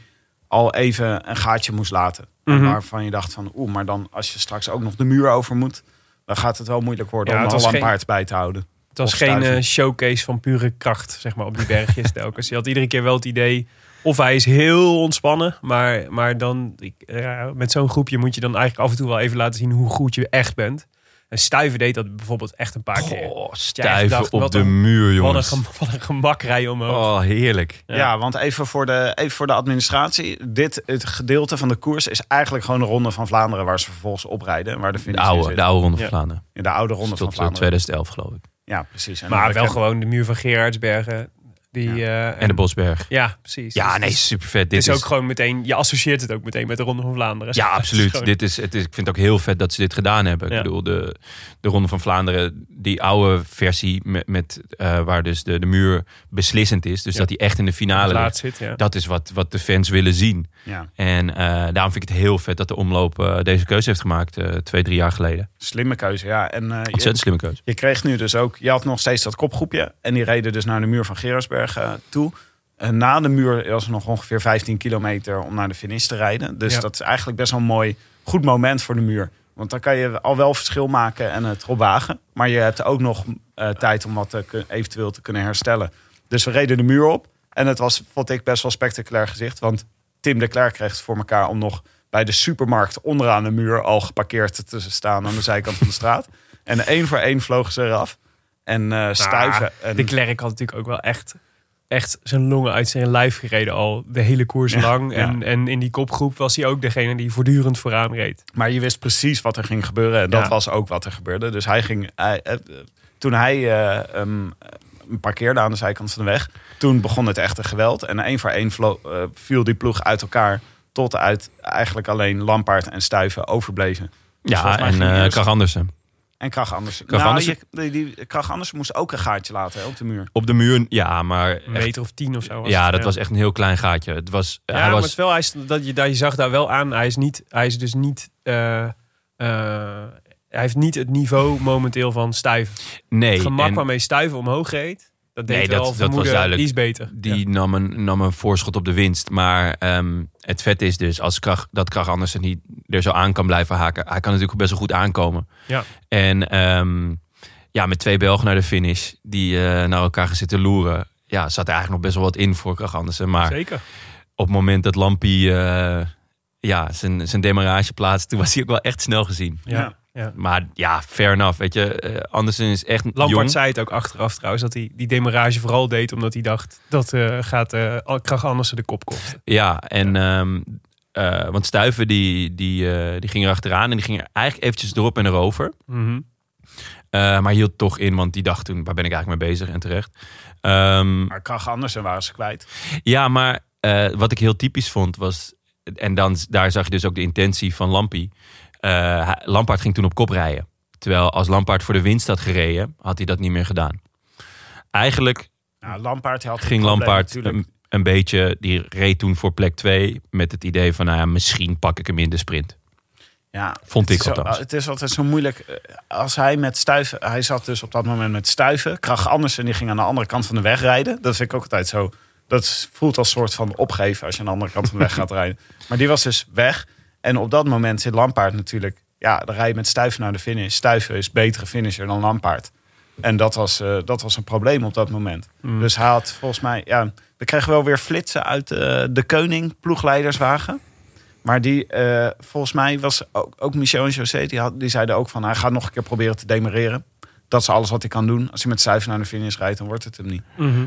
S3: al even een gaatje moest laten. En
S1: Mhm.
S3: Waarvan je dacht van, oeh, maar dan als je straks ook nog de muur over moet, dan gaat het wel moeilijk worden
S1: Ja,
S3: om
S1: het
S3: al
S1: was
S3: een
S1: geen-
S3: paard bij te houden.
S1: Het was
S3: Of
S1: geen
S3: stuiven.
S1: eh, showcase van pure kracht, zeg maar, op die bergjes telkens. Je had iedere keer wel het idee, of hij is heel ontspannen, maar, maar dan, ik, eh, ja, met zo'n groepje moet je dan eigenlijk af en toe wel even laten zien hoe goed je echt bent. En Stuiven deed dat bijvoorbeeld echt een paar keer.
S2: Goh,
S1: echt
S2: stuiven
S1: dacht,
S2: op
S1: wat
S2: de
S1: een-
S2: muur,
S1: Wat een,
S2: jongens.
S1: gem- wat een gemakrij omhoog.
S2: Oh, heerlijk.
S3: Ja, want even voor, de, even voor de administratie. Dit het gedeelte van de koers is eigenlijk gewoon de Ronde van Vlaanderen... waar ze vervolgens oprijden, waar de
S2: De
S3: finish in
S2: oude,
S3: zit.
S2: de oude Ronde van
S1: Ja.
S2: Vlaanderen.
S3: In de oude ronde
S2: Tot
S3: van
S2: eh,
S3: Vlaanderen.
S2: 2011, geloof ik.
S3: Ja, precies. En
S1: maar
S3: dan
S1: wel
S3: heb je-
S1: gewoon de muur van Gerardsbergen. Die, eh,
S2: En de Bosberg.
S1: Ja, precies.
S2: Ja,
S1: Dus
S2: nee,
S1: Het is,
S2: super vet. Dit
S1: het is ook gewoon meteen, je associeert het ook meteen met de Ronde van Vlaanderen.
S2: Ja,
S1: Het is
S2: absoluut.
S1: gewoon-
S2: Dit is, het is, ik vind het ook heel vet dat ze dit gedaan hebben.
S1: Ja.
S2: Ik bedoel, de, de Ronde van Vlaanderen, die oude versie met, met, eh, waar dus de, de muur beslissend is. Dus
S1: Ja.
S2: dat die echt in de finale
S1: laat
S2: ligt.
S1: zit, ja.
S2: Dat is wat, wat de fans willen zien.
S3: Ja.
S2: En eh, daarom vind ik het heel vet dat de omloop eh, deze keuze heeft gemaakt eh, twee, drie jaar geleden.
S3: Slimme keuze, ja. En eh, je,
S2: Ontzettend slimme keuze.
S3: je kreeg nu dus ook... Je had nog steeds dat kopgroepje. En die reden dus naar de muur van Gerardsberg eh, toe. En na de muur was er nog ongeveer 15 kilometer om naar de finish te rijden. Dus
S1: Ja.
S3: dat is eigenlijk best wel een mooi, goed moment voor de muur. Want dan kan je al wel verschil maken en het erop wagen. Maar je hebt ook nog eh, tijd om wat eh, kun- eventueel te kunnen herstellen. Dus we reden de muur op. En het was, vond ik, best wel spectaculair gezicht. Want Tim de Klerk kreeg het voor elkaar om nog bij de supermarkt onderaan de muur al geparkeerd te staan aan de zijkant van de straat. En één voor één vlogen ze eraf. En eh stuiven. en,
S1: Ah, De klerk had natuurlijk ook wel echt, echt zijn longen uit zijn lijf gereden al de hele koers lang.
S3: ja.
S1: En, en in die kopgroep was hij ook degene die voortdurend vooraan reed.
S3: Maar je wist precies wat er ging gebeuren. En dat
S1: Ja.
S3: was ook wat er gebeurde. Dus hij ging. Hij, eh, eh, toen hij eh, ehm, eh, parkeerde aan de zijkant van de weg. Toen begon het echte geweld. En één voor één vlo- eh, viel die ploeg uit elkaar. Tot uit eigenlijk alleen Lampaard en Stuiven overbleven. Dus
S2: Ja,
S3: volgens mij
S2: en
S3: ging die
S2: eh
S3: eerst-
S2: Krach Andersen.
S3: En Krach Andersen.
S2: Krach
S3: nou,
S2: Andersen-
S3: je- die, die, Krach Andersen moest ook een gaatje laten hè, op de muur.
S2: Op de muur, ja, maar...
S1: Een
S2: echt-
S1: meter of tien of zo. Was
S2: ja,
S1: het,
S2: dat was echt een heel klein gaatje. Het was,
S1: Ja,
S2: hij
S1: maar
S2: was
S1: het wel, hij is, dat je, daar, je zag daar wel aan. Hij is, niet, hij is dus niet. eh, eh, hij heeft niet het niveau momenteel van stuiven.
S2: nee,
S1: Het gemak
S2: en-
S1: waarmee stuiven omhoog reed. Dat deed
S2: Nee,
S1: wel
S2: dat- dat was
S1: vermoeden,
S2: duidelijk.
S1: Die is beter.
S2: Die nam, een, nam een voorschot op de winst. Maar ehm, het vet is dus als Krach, dat Krach Andersen niet er zo aan kan blijven haken. Hij kan natuurlijk best wel goed aankomen.
S1: Ja.
S2: En ehm, ja, met twee Belgen naar de finish die eh, naar elkaar gaan zitten loeren. Ja, zat er eigenlijk nog best wel wat in voor Krach Andersen. Maar
S1: Zeker.
S2: op het moment dat Lampie eh, ja, zijn, zijn demarrage plaatst, toen was hij ook wel echt snel gezien.
S1: Ja. ja.
S2: Maar ja, fair enough. Weet je, Eh, Andersen is echt
S1: Lampard
S2: jong.
S1: zei het ook achteraf trouwens, dat hij die demarage vooral deed omdat hij dacht dat eh, gaat eh Krach Andersen de kop kosten.
S2: Ja, en ehm, eh, want Stuiven die, die, eh, die ging er achteraan en die ging er eigenlijk eventjes erop en erover. Eh, maar hield toch in, want die dacht toen, waar ben ik eigenlijk mee bezig en terecht. Ehm,
S3: Maar Krach Andersen waren ze kwijt.
S2: ja, maar eh, wat ik heel typisch vond was, en dan, daar zag je dus ook de intentie van Lampie. Eh, hij- Lampaard ging toen op kop rijden. Terwijl als Lampaard voor de winst had gereden, had hij dat niet meer gedaan. Eigenlijk
S3: Nou, Lampaard had het
S2: ging
S3: probleem
S2: Lampaard
S3: natuurlijk.
S2: een, een beetje, die reed toen voor plek 2 met het idee van, nou ja, misschien pak ik hem in de sprint.
S3: Ja,
S2: Vond
S3: het
S2: ik
S3: is zo-
S2: althans.
S3: Het is altijd zo moeilijk. eh, Als hij met stuiven... Hij zat dus op dat moment met stuiven. Krach Andersen die ging aan de andere kant van de weg rijden. Dat vind ik ook altijd zo... Dat voelt als soort van opgeven als je aan de andere kant van de weg gaat rijden. Maar die was dus weg. En op dat moment zit Lampaard natuurlijk... Ja, dan rij je met stuiven naar de finish. Stuiven is betere finisher dan Lampaard. En dat was, eh, dat was een probleem op dat moment.
S2: Mm.
S3: Dus hij had volgens mij... Ja, we kregen wel weer flitsen uit eh, de Keuning ploegleiderswagen. Maar die, eh, volgens mij was ook, ook Michel en José, die, had, die zeiden ook van... hij gaat nog een keer proberen te demereren. Dat is alles wat hij kan doen. Als hij met cijfer naar de finish rijdt, dan wordt het hem niet.
S1: Mhm.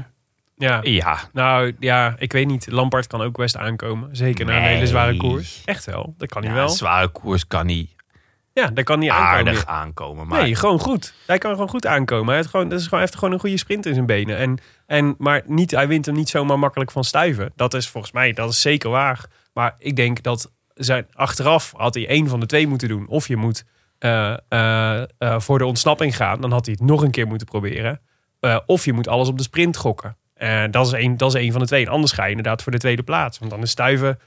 S1: Ja.
S2: Ja,
S1: Nou ja, ik weet niet. Lampard kan ook best aankomen. Zeker na een
S2: Nee.
S1: hele zware koers. Echt wel. Dat kan hij
S2: ja
S1: wel.
S2: een zware koers kan niet
S1: Ja, dat kan hij aankomen.
S2: aardig aankomen. Maar
S1: Nee, gewoon goed. Hij kan gewoon goed aankomen. Hij heeft gewoon, dat is gewoon, hij heeft gewoon een goede sprint in zijn benen. En, en, maar niet, hij wint hem niet zomaar makkelijk van stuiven. Dat is volgens mij, dat is zeker waar. Maar ik denk dat zijn, achteraf had hij één van de twee moeten doen. Of je moet eh, eh, eh, voor de ontsnapping gaan. Dan had hij het nog een keer moeten proberen. Eh, of je moet alles op de sprint gokken. Eh, dat, is één, dat is één van de twee. En anders ga je inderdaad voor de tweede plaats. Want dan is stuiven...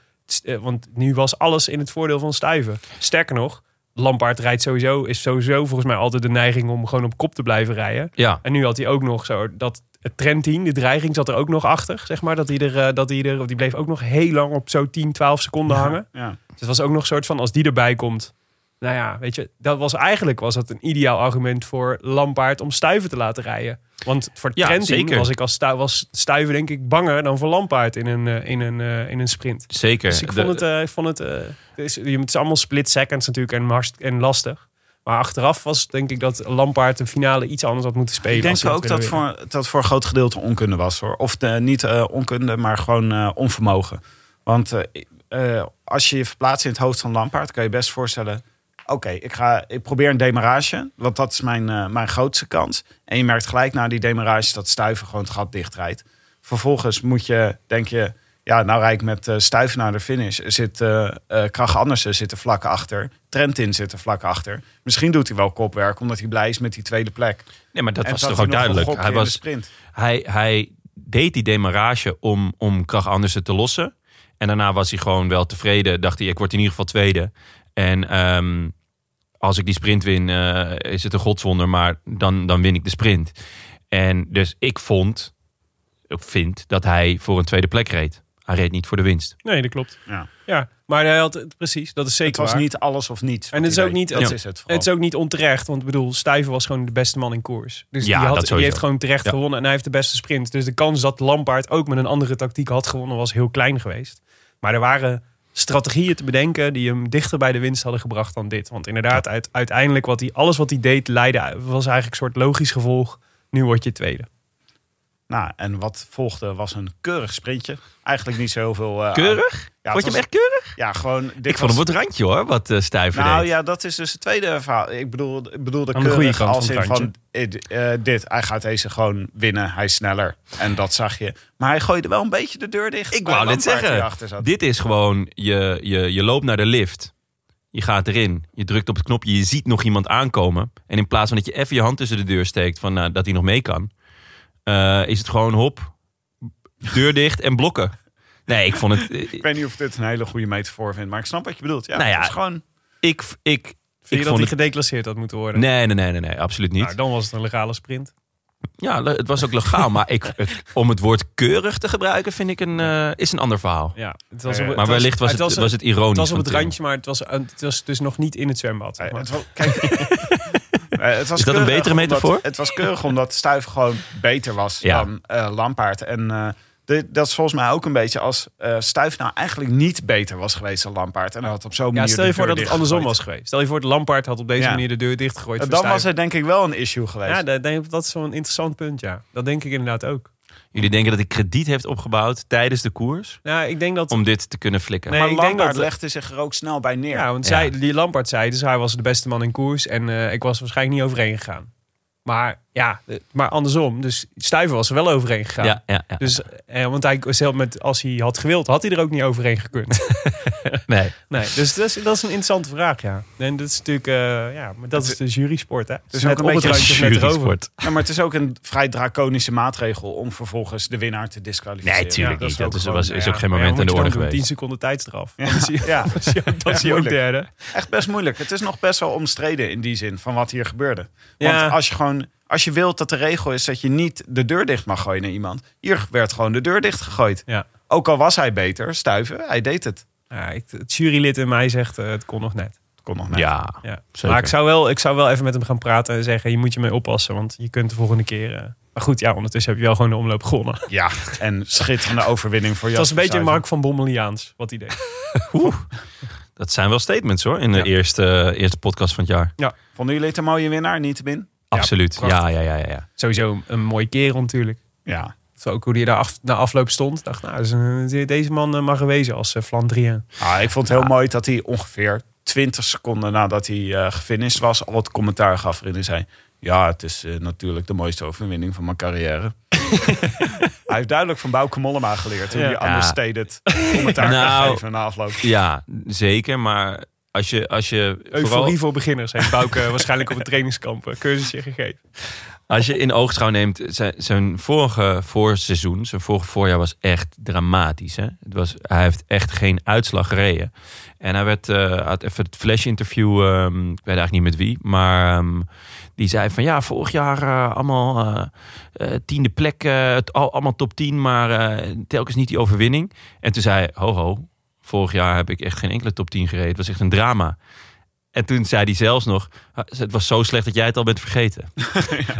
S1: eh, Want nu was alles in het voordeel van stuiven. Sterker nog, Lampaard rijdt sowieso, is sowieso volgens mij altijd de neiging om gewoon op kop te blijven rijden.
S2: ja,
S1: En nu had hij ook nog zo dat het trendteam, de dreiging zat er ook nog achter, zeg maar. Dat hij er, eh, dat hij er, die bleef ook nog heel lang op zo 10, 12 seconden hangen.
S3: Ja.
S1: Dus het was ook nog een soort van, als die erbij komt. Nou ja, weet je, dat was eigenlijk was dat een ideaal argument voor Lampaard om Stuiven te laten rijden. Want voor het
S2: Ja,
S1: trendteam
S2: zeker.
S1: was ik als Stu- was Stuiven denk ik banger dan voor Lampaard in een, eh, in een, eh, in een sprint.
S2: zeker.
S1: Dus
S2: De-
S1: ik vond het, eh, ik vond het, eh, het is, het is allemaal split seconds natuurlijk en, hartst- en lastig. Maar achteraf was het denk ik dat Lampaard de finale iets anders had moeten spelen.
S3: Ik
S1: als
S3: denk
S1: hij had
S3: ook dat
S1: willen winnen.
S3: voor, dat voor een groot gedeelte onkunde was. hoor. Of de, niet eh, onkunde, maar gewoon eh, onvermogen. Want eh, eh, als je je verplaatst in het hoofd van Lampaard... kan je best voorstellen... oké, ik ik, ik probeer een demarage. Want dat is mijn, eh, mijn grootste kans. En je merkt gelijk na die demarage... dat stuiven gewoon het gat dichtrijdt. Vervolgens moet je, denk je, ja, nou rijd ik met eh, stuiven naar de finish. Er zit eh eh, Krach Andersen zit er vlak achter. Trentin zit er vlak achter. Misschien doet hij wel kopwerk, omdat hij blij is met die tweede plek.
S2: Nee, maar dat
S3: En
S2: was
S3: zat
S2: toch
S3: hij
S2: ook
S3: nog een
S2: duidelijk.
S3: gokje
S2: Hij,
S3: in de
S2: was,
S3: sprint.
S2: hij, hij deed die demarage om, om Krach Andersen te lossen. En daarna was hij gewoon wel tevreden. Dacht hij, ik word in ieder geval tweede. En ehm, als ik die sprint win, eh, is het een godswonder. Maar dan, dan win ik de sprint. En dus ik vond, ik vind, dat hij voor een tweede plek reed. Hij reed niet voor de winst.
S1: Nee, dat klopt.
S3: Ja.
S1: Ja, maar hij had het precies. Dat is zeker
S3: Het was
S1: waar.
S3: niet alles of niets.
S1: En het is
S3: wat hij
S1: ook
S3: deed.
S1: niet-
S3: Dat
S1: Ja.
S3: is het vooral.
S1: Het is ook niet onterecht, want ik bedoel, Stuyven was gewoon de beste man in koers. Dus
S2: Ja,
S1: die,
S2: dat
S1: had, die
S2: sowieso.
S1: heeft gewoon terecht
S2: Ja.
S1: gewonnen en hij heeft de beste sprint. Dus de kans dat Lampaard ook met een andere tactiek had gewonnen was heel klein geweest. Maar er waren strategieën te bedenken die hem dichter bij de winst hadden gebracht dan dit. Want inderdaad, uit, uiteindelijk wat hij, alles wat hij deed leidde, was eigenlijk een soort logisch gevolg. Nu word je tweede.
S3: Nou, en wat volgde was een keurig sprintje. Eigenlijk niet zo heel veel. eh, aan-
S2: Keurig?
S3: Ja,
S2: vond
S3: het
S2: je hem
S3: was-
S2: echt keurig?
S3: Ja, gewoon. Dit
S2: Ik vond hem
S3: was-
S2: wat randje hoor, wat eh Stuyven
S3: Nou
S2: deed.
S3: ja, dat is dus het tweede verhaal. Ik bedoel, ik bedoel de
S1: Aan de goede
S3: keurig
S1: kant
S3: als
S1: van
S3: in
S1: het
S3: van eh, d- eh, dit. Hij gaat deze gewoon winnen. Hij is sneller. En dat zag je. Maar hij gooide wel een beetje de deur dicht.
S2: Ik
S3: bij
S2: wou net
S3: Lampaard die
S2: zeggen,
S3: erachter zat.
S2: dit is gewoon, je, je, je loopt naar de lift, je gaat erin, je drukt op het knopje, je ziet nog iemand aankomen. En in plaats van dat je even je hand tussen de deur steekt, van, nou, dat hij nog mee kan, eh, is het gewoon hop, deur dicht en blokken. Nee, ik vond het... eh,
S3: Ik weet niet of ik dit een hele goede metafoor vind, maar ik snap wat je bedoelt. Ja,
S2: Nou ja,
S3: het is gewoon.
S2: Ik, ik,
S1: Vind
S2: ik
S1: je dat
S2: vond
S1: hij
S2: het...
S1: gedeclasseerd had moeten worden?
S2: Nee, nee, nee, nee, nee, absoluut niet.
S1: Nou, dan was het een legale sprint.
S2: Ja, le- het was ook legaal, maar ik, het- om het woord keurig te gebruiken vind ik een, eh, is een ander verhaal.
S1: Ja, het was
S3: Eh,
S1: op- het
S2: Maar wellicht was het, was het, ironisch.
S1: het was op
S2: van
S1: het
S2: Tim.
S1: randje, maar het was, het was dus nog niet in het zwembad. zeg
S3: eh,
S1: maar.
S3: het was- Kijk. eh, het was
S2: Is dat een
S3: keurig
S2: betere
S3: omdat-
S2: metafoor?
S3: het was keurig omdat Stuif gewoon beter was
S2: Ja.
S3: dan eh, Lampaard. En eh, dit- dat is volgens mij ook een beetje als eh Stuif nou eigenlijk niet beter was geweest dan Lampaard. En hij had op zo'n manier.
S1: Ja, stel je
S3: de
S1: voor
S3: deur
S1: dat het andersom
S3: dichtgegooid.
S1: was geweest. Stel je voor, de Lampaard had op deze
S3: Ja.
S1: manier de deur dichtgegooid.
S3: En
S1: voor
S3: Dan was
S1: Stuyven.
S3: het denk ik wel een issue geweest.
S1: Ja, dat, denk ik- dat is zo'n interessant punt, ja. Dat denk ik inderdaad ook.
S2: Jullie denken dat ik krediet heeft opgebouwd tijdens de koers
S1: Nou, ik denk dat...
S2: om dit te kunnen flikken.
S1: Nee,
S3: maar
S1: ik denk
S3: Lampaard
S1: dat-
S3: legde zich er ook snel bij neer.
S1: ja, want
S2: Ja.
S1: Zij, die Lampaard zei, dus hij was de beste man in koers. En eh, ik was waarschijnlijk niet overeen gegaan. Maar ja, eh, maar andersom. Dus Stuyven was er wel overeen gegaan.
S2: Ja, ja, ja.
S1: Dus, eh, want hij, was heel met, als hij had gewild, had hij er ook niet overeen gekund.
S2: nee.
S1: nee, dus dat is, dat is een interessante vraag, ja. En dat is natuurlijk, eh, ja, maar dat is de jury sport, hè. Het
S3: is ook een beetje
S1: randje of net erover.
S3: Ja, maar het is ook een vrij draconische maatregel om vervolgens de winnaar te disqualificeren.
S2: Nee, tuurlijk
S3: Ja,
S2: niet. Dat is,
S3: ook
S2: was,
S3: gewoon,
S2: is
S3: ja.
S2: ook geen
S1: Maar
S2: moment
S1: Nou ja,
S2: in de
S1: moet
S2: orde
S1: je dan doen? 10
S2: geweest.
S1: seconden tijdstraf.
S3: Ja.
S1: Dan is hij-
S3: Ja.
S1: dan is hij ook- Dan is hij ook
S3: Moeilijk.
S1: derde.
S3: Echt best moeilijk. Het is nog best wel omstreden in die zin van wat hier gebeurde. Want
S1: Ja.
S3: als je gewoon, als je wilt dat de regel is dat je niet de deur dicht mag gooien naar iemand, hier werd gewoon de deur dicht gegooid.
S1: Ja.
S3: Ook al was hij beter, stuiven, hij deed het.
S1: Ja, ik, het jurylid in mij zegt, eh, het kon nog net.
S3: Kon nog net.
S2: Ja.
S1: Ja.
S2: Zeker.
S1: Maar ik zou, wel, ik zou wel even met hem gaan praten en zeggen, je moet je mee oppassen, want je kunt de volgende keer... eh, maar goed, ja, ondertussen heb je wel gewoon de omloop gewonnen.
S3: Ja, en schitterende overwinning voor
S1: Het
S3: jou.
S1: was een beetje Mark van Bommeliaans, wat hij deed.
S2: Oeh. Dat zijn wel statements hoor, in de
S1: Ja.
S2: eerste, eerste podcast van het jaar.
S3: Vonden jullie het een mooie winnaar, niet te min?
S2: Absoluut.
S1: prachtig.
S2: Ja, ja, ja, ja, ja.
S1: Sowieso een mooie kerel natuurlijk.
S3: Ja.
S1: Zo ook hoe hij daar af, na afloop stond. dacht, nou, dus, eh, deze man eh, mag gewezen als eh, Flandrien.
S3: Ah, ik vond het heel mooi dat hij ongeveer 20 seconden nadat hij eh gefinished was, al wat commentaar gaf waarin hij zei: Ja, het is eh, natuurlijk de mooiste overwinning van mijn carrière. hij heeft duidelijk van Bouke Mollema geleerd hoe
S1: Ja.
S3: hij understated commentaar
S2: Nou.
S3: kan geven na afloop.
S2: Ja, zeker. Maar als je, als je, vooral,
S1: Euforie voor beginners heeft Bouke eh, waarschijnlijk op een trainingskamp een cursusje gegeven.
S2: als je in oogschouw neemt, zijn, zijn vorige voorseizoen, zijn vorige voorjaar was echt dramatisch. Hè? Het was, hij heeft echt geen uitslag gereden. En hij werd, eh, had even het flash interview, ehm, ik weet eigenlijk niet met wie, maar ehm, die zei van ja, vorig jaar eh, allemaal eh, eh, tiende plek, eh, het- al, allemaal top 10, maar eh, telkens niet die overwinning. En toen zei hij, ho ho, vorig jaar heb ik echt geen enkele top 10 gereden. Het was echt een drama. En toen zei hij zelfs nog, "Ah, het was zo slecht dat jij het al bent vergeten.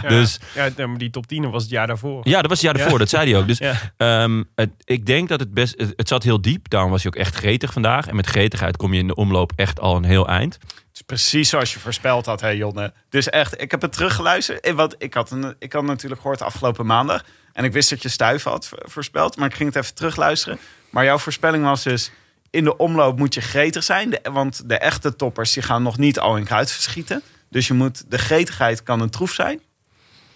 S2: Dus
S1: Ja, nee, maar die top 10 was het jaar daarvoor.
S2: ja, dat was het jaar daarvoor, dat zei hij ook. Dus
S1: Ja.
S2: ehm, het, ik denk dat het best... Het, het zat heel diep, daarom was hij ook echt gretig vandaag. En met gretigheid kom je in de omloop echt al een heel eind.
S3: Het is precies zoals je voorspeld had, hè Jonne. Dus echt, ik heb het teruggeluisterd. Eh, Want ik had, een, ik had natuurlijk gehoord afgelopen maandag. En ik wist dat je stuiven had vo- voorspeld. Maar ik ging het even terugluisteren. Maar jouw voorspelling was dus... In de omloop moet je gretig zijn. de- want de echte toppers die gaan nog niet al in kruid verschieten. Dus je moet, de gretigheid kan een troef zijn.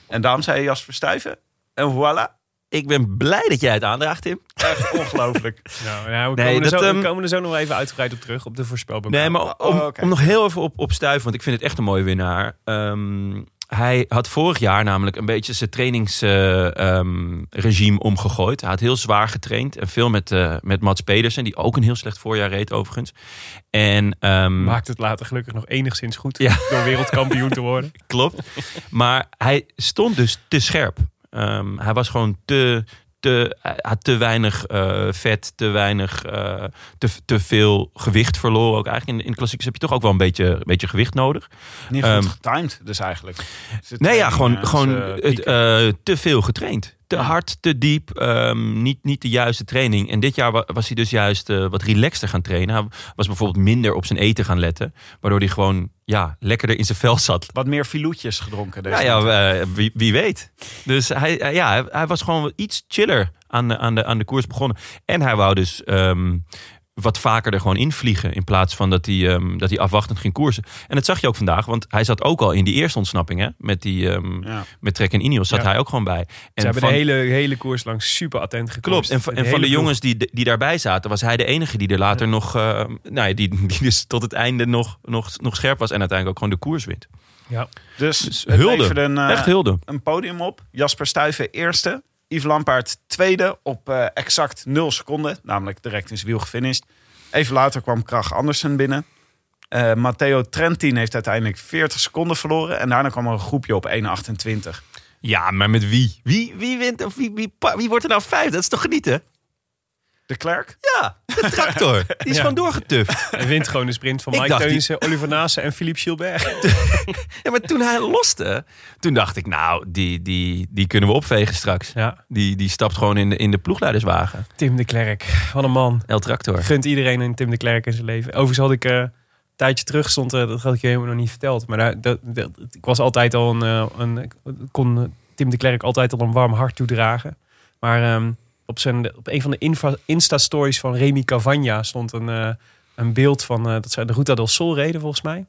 S3: En daarom zei Jasper Stuiven. En voilà.
S2: Ik ben blij dat jij het aandraagt, Tim.
S3: Echt ongelooflijk.
S1: Nou, nou, we,
S2: Nee,
S1: komen
S2: dat,
S1: er zo, we
S2: ehm,
S1: komen er zo nog even uitgebreid op terug, op de voorspelbaar.
S2: Nee, maar om,
S3: oh, oké.
S2: om nog heel even op, op stuiven, want ik vind het echt een mooie winnaar. Ehm, hij had vorig jaar namelijk een beetje zijn trainingsregime omgegooid. Hij had heel zwaar getraind en veel met, eh, met Mats Pedersen, die ook een heel slecht voorjaar reed overigens. En, ehm,
S1: Maakt het later gelukkig nog enigszins goed
S2: Ja.
S1: door wereldkampioen te worden.
S2: Klopt. Maar hij stond dus te scherp. Ehm, hij was gewoon te. Te, hij had te weinig eh, vet, te weinig, eh, te, te veel gewicht verloren. Ook eigenlijk in, in de klassiekers heb je toch ook wel een beetje, een beetje gewicht nodig.
S3: Niet
S2: Ehm,
S3: goed getimed dus eigenlijk. Zit
S2: Nee,
S3: er
S2: ja,
S3: in,
S2: gewoon,
S3: eh,
S2: gewoon
S3: zijn, eh,
S2: het,
S3: pieken.
S2: eh, te veel getraind. Te
S3: Ja.
S2: hard, te diep, ehm, niet, niet de juiste training. En dit jaar wa- was hij dus juist eh, wat relaxter gaan trainen. Hij was bijvoorbeeld minder op zijn eten gaan letten. Waardoor hij gewoon ja, lekkerder in zijn vel zat.
S3: Wat meer filoetjes gedronken deze
S2: Ja, ja eh, wie, wie weet. Dus hij, hij- ja, hij, hij was gewoon iets chiller aan de, aan, de, aan de koers begonnen. En hij wou dus ehm, wat vaker er gewoon invliegen. In plaats van dat hij, ehm, dat hij afwachtend ging koersen. En dat zag je ook vandaag. Want hij zat ook al in die eerste ontsnapping. Hè? Met, die, ehm,
S3: Ja.
S2: met Trek en Ineos zat
S1: Ja.
S2: hij ook gewoon bij. En
S1: Ze hebben
S2: van-
S1: de hele, hele koers lang super attent gekomen.
S2: Klopt. En, van- en van de jongens die, die daarbij zaten, was hij de enige die er later nog. eh, nou ja, die, die dus tot het einde nog, nog, nog scherp was. En uiteindelijk ook gewoon de koers wint.
S1: Ja.
S3: Dus,
S2: Dus
S3: het
S2: hulde.
S3: leverde een, eh,
S2: Echt hulde.
S3: een podium op. Jasper Stuyven eerste. Yves Lampaard tweede op eh, exact 0 seconden. Namelijk direct in zijn wiel gefinished. Even later kwam Krach Andersen binnen. Eh, Matteo Trentin heeft uiteindelijk 40 seconden verloren. En daarna kwam er een groepje op 1,28.
S2: Ja, maar met wie? Wie, wie wint of wie, wie, pa- wie wordt er nou vijf? Dat is toch genieten?
S3: De Klerk?
S2: Ja, de tractor. Die is
S1: Ja.
S2: gewoon doorgetuft.
S1: En wint gewoon de sprint van
S2: Ik
S1: Mike
S2: dacht die-
S1: Teunissen, Oliver Naassen en Philippe Gilbert.
S2: Ja, maar toen hij loste, toen dacht ik, nou, die, die, die kunnen we opvegen straks.
S1: Ja.
S2: Die, die stapt gewoon in de, in de ploegleiderswagen.
S1: Tim de Klerk, wat een man.
S2: El Tractor.
S1: Gunt iedereen een Tim de Klerk in zijn leven. Overigens had ik eh, een tijdje terug stond, eh, dat had ik je helemaal nog niet verteld. Maar daar, dat, dat- ik was altijd al een, eh, een ik kon eh, Tim de Klerk altijd al een warm hart toedragen. Maar ehm, op, zijn, op een van de infa- Insta-stories van Remy Cavagna stond een, eh, een beeld van eh, dat ze de Ruta del Sol reden volgens mij.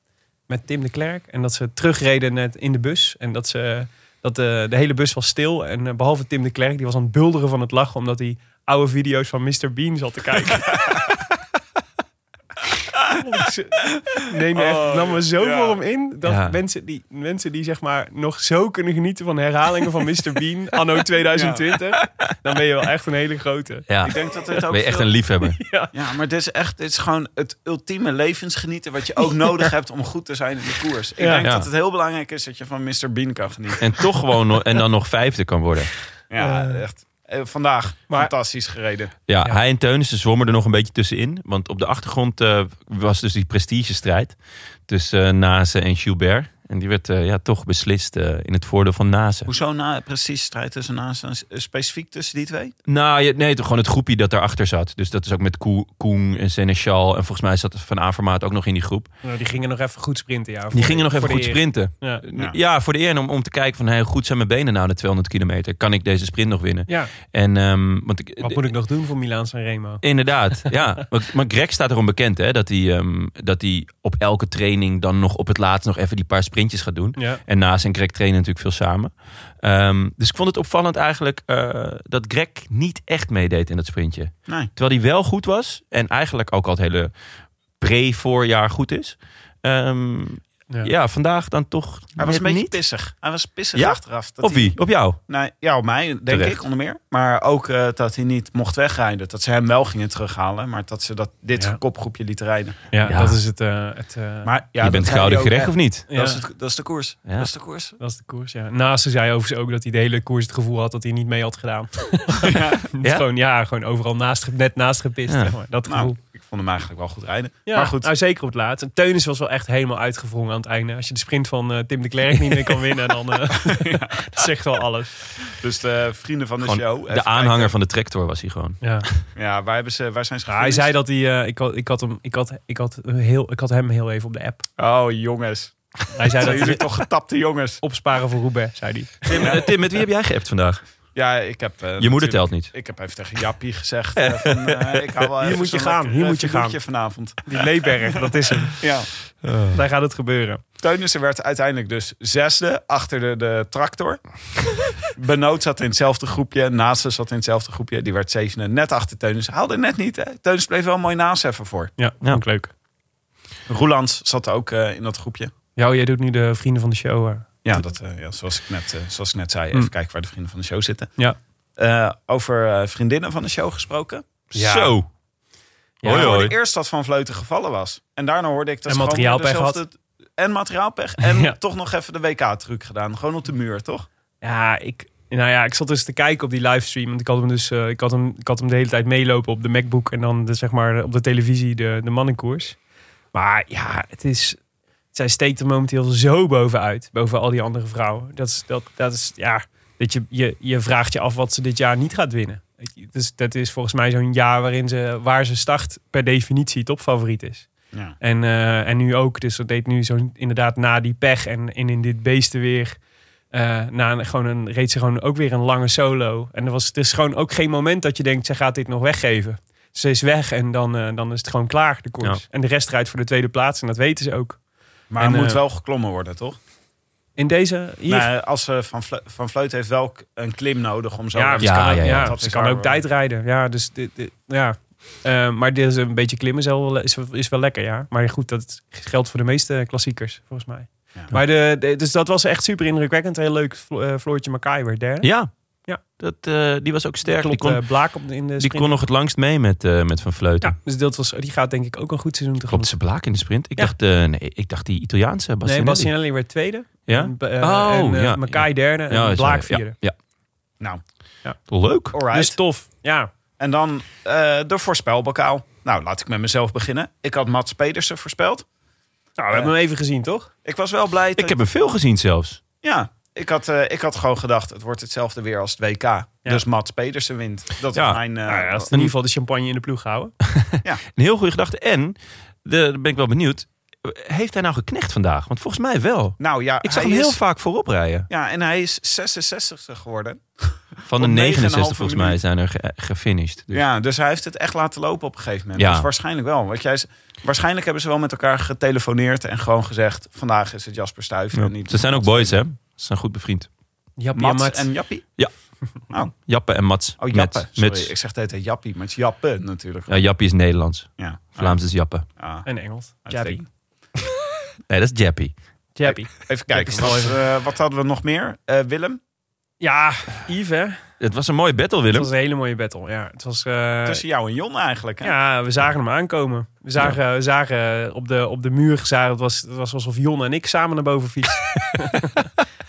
S1: Met Tim de Klerk. En dat ze terugreden net in de bus. En dat ze dat eh, de hele bus was stil. En eh, behalve Tim de Klerk, die was aan het bulderen van het lachen. Omdat hij oude video's van Mr. Bean zat te kijken. Neem me echt, nam me zo voor hem in dat
S2: Ja.
S1: mensen, die, mensen die zeg maar nog zo kunnen genieten van herhalingen van Mr. Bean anno 2020, dan ben je wel echt een hele grote.
S2: Ja,
S3: Ik denk dat dit ook
S2: ben je echt
S3: veel-
S2: een liefhebber.
S3: Ja, maar dit is echt dit is gewoon het ultieme levensgenieten... wat je ook nodig hebt om goed te zijn in de koers. Ik
S1: Ja.
S3: denk
S2: Ja.
S3: dat het heel belangrijk is dat je van Mr. Bean kan genieten.
S2: En toch gewoon no- en dan nog vijfde kan worden.
S3: Ja,
S1: Eh.
S3: echt. Eh, vandaag
S1: Maar-
S3: fantastisch gereden.
S2: Ja,
S1: Ja.
S2: hij en Teunissen zwommen er nog een beetje tussenin. Want op de achtergrond eh, was dus die prestigestrijd tussen eh, Nase en Gilbert. En die werd eh, ja, toch beslist eh, in het voordeel van Nase.
S3: Hoezo na, precies strijd tussen naast en eh, specifiek tussen die twee?
S2: Nou, je- nee, toch gewoon het groepje dat daarachter zat. Dus dat is ook met Koen, Koen en Seneschal. En volgens mij zat Van Avermaat ook nog in die groep.
S1: Nou, die gingen nog even goed sprinten. Ja,
S2: Die gingen nog even goed
S1: sprinten.
S2: sprinten.
S1: Ja.
S2: Ja. voor de eer en om, om te kijken van... Hey, hoe goed zijn mijn benen nou na 200 kilometer? Kan ik deze sprint nog winnen?
S1: Ja,
S2: En, ehm, want ik,
S1: wat moet ik nog doen voor Milaan Sanremo?
S2: Inderdaad, ja. Maar, maar Greg staat erom bekend hè, dat, hij, ehm, dat hij op elke training dan nog op het laatst nog even die paar sprintjes gaat doen.
S1: Ja.
S2: En naast en Greg trainen natuurlijk veel samen. Ehm, dus ik vond het opvallend eigenlijk eh, dat Greg niet echt meedeed in dat sprintje.
S3: Nee.
S2: Terwijl hij wel goed was en eigenlijk ook al het hele pre-voorjaar goed is. Ehm,
S1: Ja.
S2: ja. vandaag dan toch
S3: Hij was een
S2: net
S3: beetje
S2: niet.
S3: pissig. Hij was pissig
S2: Ja?
S3: achteraf. Dat
S2: Op
S3: hij-
S2: wie? Op jou?
S3: nou, ja, op mij, denk
S2: Terecht.
S3: ik, onder meer. Maar ook eh, dat hij niet mocht wegrijden. Dat ze hem wel gingen terughalen. Maar dat ze dat, dit
S1: Ja.
S3: kopgroepje lieten rijden.
S1: Ja,
S2: Ja.
S1: dat is het. eh, het eh,
S3: Maar, ja,
S2: je
S3: dat
S2: bent
S3: zei
S2: gouden
S3: hij ook,
S2: gerecht
S3: hè.
S2: of niet?
S1: ja,
S3: Dat, is het- dat is de koers.
S2: Ja.
S3: Dat is de koers.
S1: dat is de koers, ja. Naast ze zei overigens ook dat hij de hele koers het gevoel had dat hij niet mee had gedaan. ja?
S2: Ja?
S1: Gewoon, ja, gewoon overal naast, ge- net naast gepist,
S2: Ja.
S1: zeg maar. Dat
S3: Nou,
S1: gevoel.
S3: ik vond hem eigenlijk wel goed rijden.
S1: Ja,
S3: maar goed,
S1: nou, zeker op het laatst. En Teunis was wel echt helemaal uitgevrongen aan het einde. Als je de sprint van eh, Tim de Klerk niet meer kan winnen, dan eh, dat zegt wel alles.
S3: dus de vrienden van de
S2: Gewoon
S3: show.
S2: De aanhanger van de tractor was hij gewoon.
S1: Ja.
S3: Ja, waar, hebben ze, waar zijn ze
S1: Ja, hij zei
S3: gefinished?
S1: dat hij, eh, ik, had, ik, had hem, ik, had, ik, had heel, ik had hem heel even op de app.
S3: Oh, jongens.
S1: Hij zei
S3: Zijn
S1: dat
S3: jullie
S1: hij
S3: toch getapte jongens?
S1: opsparen voor Roubaix, zei hij.
S2: Tim, eh, Tim, met wie heb jij geappt vandaag?
S3: Ja, ik heb... eh,
S2: Je moeder
S3: natuurlijk-
S2: telt niet.
S3: Ik heb even tegen Jappie gezegd. eh, van, eh, ik hou wel
S1: Hier
S3: even
S1: moet je
S3: zo'n
S1: gaan,
S3: lekker,
S1: hier
S3: eh,
S1: moet je gaan.
S3: figuurtje vanavond.
S1: Die Leeberg, dat is hem.
S3: Ja.
S1: Daar gaat het gebeuren.
S3: Teunissen werd uiteindelijk dus zesde achter de, de tractor. Benoot zat in hetzelfde groepje. Naasten zat in hetzelfde groepje. Die werd zevende. Net achter Teunissen. Haalde net niet. Hè? Teunissen bleef wel mooi naast even voor.
S1: Ja,
S2: Ja.
S1: ook leuk.
S3: Roelands zat ook eh, in dat groepje.
S1: Ja, oh, jij doet nu de vrienden van de show. eh.
S3: Ja, dat, eh, ja zoals, ik net, eh, zoals ik net zei. Even
S1: Mm.
S3: kijken waar de vrienden van de show zitten.
S1: Ja.
S3: Eh, over eh, vriendinnen van de show gesproken.
S1: Ja.
S2: Zo.
S1: Ja.
S2: Hoi,
S3: Ik hoorde
S2: hoi.
S3: eerst dat Van Vleuten gevallen was. En daarna hoorde ik dat
S1: En
S3: ze gewoon weer
S1: materiaalpech
S3: dezelfde- En materiaalpech. En
S1: Ja.
S3: toch nog even de WK-truc gedaan. Gewoon op de muur, toch?
S1: Ja, ik, nou ja, ik zat dus te kijken op die livestream. Want ik had hem dus eh, ik had hem, ik had hem de hele tijd meelopen op de MacBook. En dan de, zeg maar op de televisie de, de mannenkoers. Maar ja, het is. Zij steekt er momenteel zo bovenuit. Boven al die andere vrouwen. Dat is, dat, dat is ja. Dat je, je, je vraagt je af wat ze dit jaar niet gaat winnen. Ik- Dus dat is volgens mij zo'n jaar waarin ze, waar ze start, per definitie topfavoriet is.
S3: Ja.
S1: En, eh, en nu ook. Dus dat deed nu zo inderdaad na die pech en in, in dit beestenweer. eh na een, gewoon een, reed ze gewoon ook weer een lange solo. En er was dus gewoon ook geen moment dat je denkt, ze gaat dit nog weggeven. Ze is weg en dan, eh, dan is het gewoon klaar, de koers.
S2: Ja.
S1: En de rest rijdt voor de tweede plaats en dat weten ze ook.
S3: Maar
S1: En,
S3: er moet
S1: eh,
S3: wel geklommen worden, toch?
S1: In deze, hier,
S3: Nee, als eh, van, Vle- van Vleut heeft wel k- een klim nodig om zo...
S1: Ja,
S3: dat
S2: ja,
S3: kan ook-
S2: ja,
S1: ja,
S3: dat
S1: ze
S3: is
S1: kan
S3: waar, eh,
S1: ook
S3: hoor.
S1: tijdrijden. Ja, dus dit, dit- ja. Eh, maar dit is een beetje klimmen is wel, is, is wel lekker, ja. Maar goed, dat geldt voor de meeste klassiekers, volgens mij.
S3: Ja.
S1: Maar de, de- dus dat was echt super indrukwekkend. Heel leuk, Flo- eh, Floortje Makai werd derde.
S2: Ja.
S1: Ja.
S2: Dat, eh, die was ook sterk.
S1: Klopt,
S2: die kon,
S1: eh, Blaak op de- in de
S2: die
S1: sprint.
S2: kon nog het langst mee met, eh, met Van Vleuten.
S1: ja, dus dat was, die gaat denk ik ook een goed seizoen tegemoet.
S2: Klopt, ze blaak in de sprint. Ik,
S1: Ja.
S2: dacht, eh, nee, ik dacht die Italiaanse
S1: Nee,
S2: Bastianelli.
S1: Bastianelli werd tweede.
S2: Ja?
S1: En, eh,
S2: Oh,
S1: en eh,
S2: ja,
S1: Makai derde en
S2: ja,
S1: Blaak
S2: sorry.
S1: vierde.
S2: Ja,
S3: Nou,
S2: ja. Leuk.
S3: alright.
S1: Dus tof, ja.
S3: En dan eh, de voorspelbokaal. Nou, laat ik met mezelf beginnen. Ik had Mats Pedersen voorspeld.
S1: Nou, we hebben hem even gezien, toch?
S3: Ik was wel blij... dat-
S2: Ik heb er veel gezien zelfs.
S3: Ja, ik had, eh, ik had gewoon gedacht, het wordt hetzelfde weer als het WK. Dus Mats Pedersen wint. Dat
S2: Ja.
S3: is mijn... eh,
S1: Nou ja, als in ieder geval de champagne in de ploeg houden.
S2: Een heel goede gedachte. En, de, daar ben ik wel benieuwd, heeft hij nou geknecht vandaag? Want volgens mij wel.
S3: nou ja,
S2: Ik zag
S3: hij
S2: hem heel
S3: is-
S2: vaak voorop rijden.
S3: Ja, en hij is 66 geworden.
S2: Van de
S3: Op
S2: 69
S3: 9,5
S2: volgens mij
S3: minuut.
S2: zijn er ge- gefinished. Dus.
S3: Ja, dus hij heeft het echt laten lopen op een gegeven moment.
S2: Ja.
S3: Dus waarschijnlijk wel. Want jij, z- waarschijnlijk hebben ze wel met elkaar getelefoneerd en gewoon gezegd... vandaag is het Jasper Stuyven en niet
S2: Ze zijn ook boys, hè? Ze zijn goed bevriend.
S1: Jappie en
S3: Mats
S1: Mats.
S3: en Jappie.
S2: Jappe en Mats.
S3: Oh,
S2: Mets.
S3: Jappe. Sorry,
S2: Mets.
S3: ik zeg de hele tijd Jappie, maar het is Jappe natuurlijk.
S2: Ja, Jappie is Nederlands.
S3: Ja.
S2: Vlaams is Jappe.
S3: Ah,
S1: En Engels. Jappie.
S3: uitstekend.
S2: Nee, dat is Jappie.
S1: Jappie.
S3: Even kijken, wat, eh, wat hadden we nog meer? Eh, Willem,
S1: Ja, Yves, hè?
S2: Het was een mooie battle,
S1: Het
S2: Willem.
S1: was een hele mooie battle. Ja, het was, eh,
S3: tussen jou en Jon eigenlijk. Hè?
S1: ja we zagen hem aankomen. We zagen, we zagen eh, op, de, op de muur, zagen, het, was, het was alsof Jon en ik samen naar boven fietsten.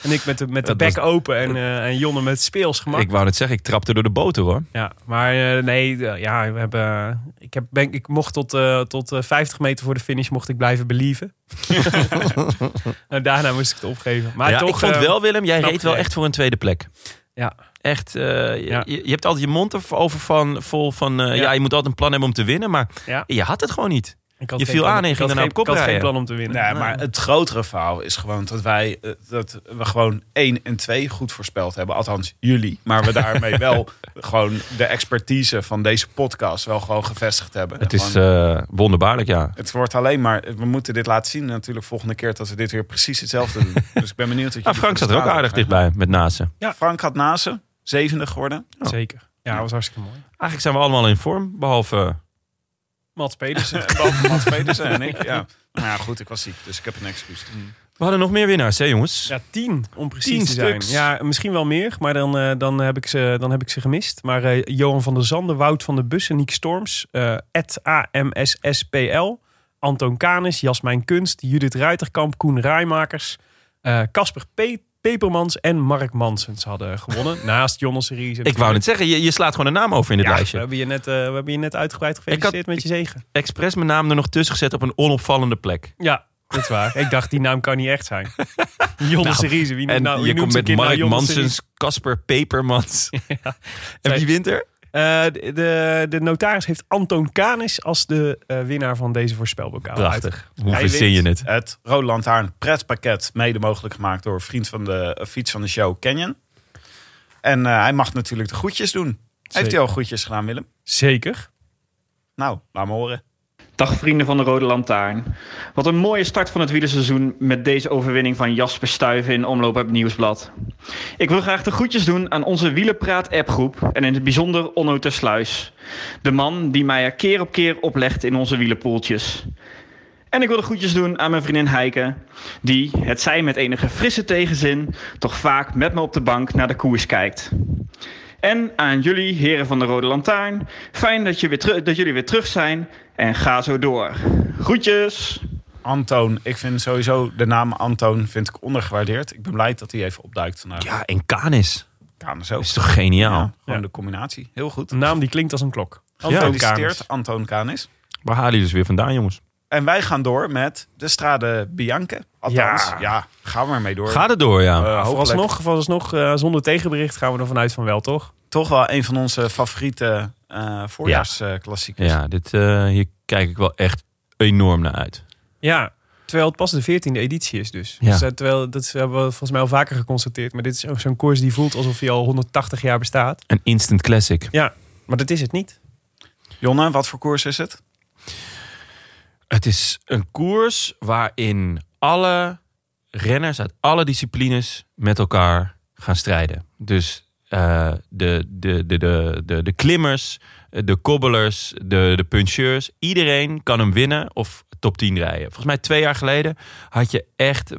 S1: en ik met de, met
S2: Dat
S1: de bek
S2: was-
S1: open en, eh en Jonne met speels gemak.
S2: Ik wou net zeggen, ik trapte door de boter, hoor.
S1: Ja, maar eh, nee, eh, ja, we hebben, ik, heb, ben, ik mocht tot, eh, tot eh, 50 meter voor de finish mocht ik blijven believen. en daarna moest ik het opgeven. Maar
S2: ja,
S1: toch,
S2: ik vond
S1: eh,
S2: wel, Willem, jij
S1: knap
S2: reed wel
S1: gereden.
S2: echt voor een tweede plek.
S1: Ja.
S2: Echt, eh,
S1: Ja.
S2: je, je hebt altijd je mond erover van, vol van... eh, ja. je moet altijd een plan hebben om te winnen, maar
S1: Ja.
S2: je had het gewoon niet.
S1: ik had
S2: je
S1: geen
S2: viel
S1: plan-
S2: aan en je
S1: ik
S2: ging
S1: had
S2: daarna
S1: geen-
S2: op kop
S1: Ik had geen
S2: rijden.
S1: plan om te winnen.
S3: Nee, maar het grotere verhaal is gewoon dat wij eh, dat we gewoon 1 en 2 goed voorspeld hebben. Althans, jullie. Maar we daarmee wel gewoon de expertise van deze podcast wel gewoon gevestigd hebben.
S2: Het is
S3: Gewoon,
S2: eh, wonderbaarlijk, ja.
S3: het wordt alleen maar, we moeten dit laten zien natuurlijk volgende keer dat we dit weer precies hetzelfde doen. Dus ik ben benieuwd dat je.
S2: Nou, Frank zat er ook aardig dichtbij met Nase.
S3: Frank had Nase, zevende geworden.
S2: Oh.
S1: Zeker. Ja, dat was hartstikke mooi.
S2: Eigenlijk zijn we allemaal in vorm, behalve... eh,
S1: Mats Pedersen.
S3: Boven Mats Pedersen en ik. Ja. Maar ja, goed, ik was ziek, dus ik heb een excuus.
S2: we hadden nog meer winnaars, hè jongens?
S1: Ja, tien om precies
S2: Tien
S1: te zijn.
S2: stuks.
S1: Ja, misschien wel meer, maar dan, eh, dan, heb, ik ze, dan heb ik ze gemist. Maar eh, Johan van der Zanden, Wout van der Bussen, Niek Storms, eh AMSSPL, Anton Kanis, Jasmijn Kunst, Judith Ruiterkamp, Koen Rijmakers, eh, Casper P. Pepermans en Mark Mansens hadden gewonnen. naast Jonas Ries.
S2: Ik wou net zeggen, je, je slaat gewoon een naam over in het
S1: ja, we
S2: lijstje.
S1: hebben, je net, eh, we hebben je net uitgebreid gefeliciteerd met je zegen.
S2: Express mijn naam er nog tussen gezet op een onopvallende plek.
S1: Ja, dat is waar. ik dacht, die naam kan niet echt zijn. Jonas
S2: Nou,
S1: Ries. Wie,
S2: En
S1: nou, wie
S2: je komt
S1: noemt
S2: met
S1: zijn kind nou
S2: Mark
S1: Jonas Ries?
S2: Mansens, Casper Pepermans. En
S1: Zij-
S2: wie wint er?
S1: Eh, de, de, de notaris heeft Anton Kanis als de eh, winnaar van deze voorspelbokaal.
S2: Prachtig. Hoe
S3: Hij
S2: verzin je
S3: wint
S2: het?
S3: Het Rode Lantaarn pretpakket, mede mogelijk gemaakt door vriend van de eh, fiets van de show Canyon. En eh, hij mag natuurlijk de groetjes doen. Heeft hij al groetjes gedaan, Willem?
S1: Zeker.
S3: Nou, laat me horen.
S4: Dag vrienden van de Rode Lantaarn. Wat een mooie start van het wielerseizoen met deze overwinning van Jasper Stuyven in Omloop op het Nieuwsblad. Ik wil graag de groetjes doen aan onze Wielerpraat appgroep en in het bijzonder Onno Tersluis. De man die mij er keer op keer oplegt in onze wielerpoeltjes. En ik wil de groetjes doen aan mijn vriendin Heike, die, het zij met enige frisse tegenzin, toch vaak met me op de bank naar de koers kijkt. En aan jullie, heren van de Rode Lantaarn. Fijn dat, je weer teru- dat jullie weer terug zijn. En ga zo door. Groetjes!
S3: Antoon. Ik vind sowieso de naam Antoon vind ik ondergewaardeerd. Ik ben blij dat hij even opduikt vandaag.
S2: Ja, en Canis.
S3: Kanis
S2: Dat
S3: ook.
S2: is toch geniaal?
S3: Ja, gewoon
S1: Ja.
S3: de combinatie. Heel goed.
S1: Een naam die klinkt als een klok.
S3: Gefeliciteerd, Antoon Kanis.
S2: Waar halen jullie dus weer vandaan, jongens?
S3: En wij gaan door met de Strade Bianca. Althans, ja,
S1: Ja.
S3: gaan we maar mee door.
S2: Ga er door, ja.
S3: Eh, hopelijk
S1: Vooralsnog, vooralsnog eh, zonder tegenbericht gaan we er vanuit van wel, toch?
S3: toch wel een van onze favoriete eh voorjaarsklassiekers.
S2: ja, dit, eh, hier kijk ik wel echt enorm naar uit.
S1: Ja, terwijl het pas de 14e editie is dus.
S2: Ja.
S1: Dus, eh, terwijl, dat hebben we volgens mij al vaker geconstateerd. Maar dit is ook zo'n koers die voelt alsof hij al 180 jaar bestaat.
S2: Een instant classic.
S1: Ja, maar dat is het niet.
S3: Jonne, wat voor koers is het?
S2: Het is een koers waarin alle renners uit alle disciplines met elkaar gaan strijden. Dus eh, de, de, de, de, de, de klimmers, de kobbelers, de, de puncheurs. Iedereen kan hem winnen of top 10 rijden. Volgens mij twee jaar geleden had je echt... eh,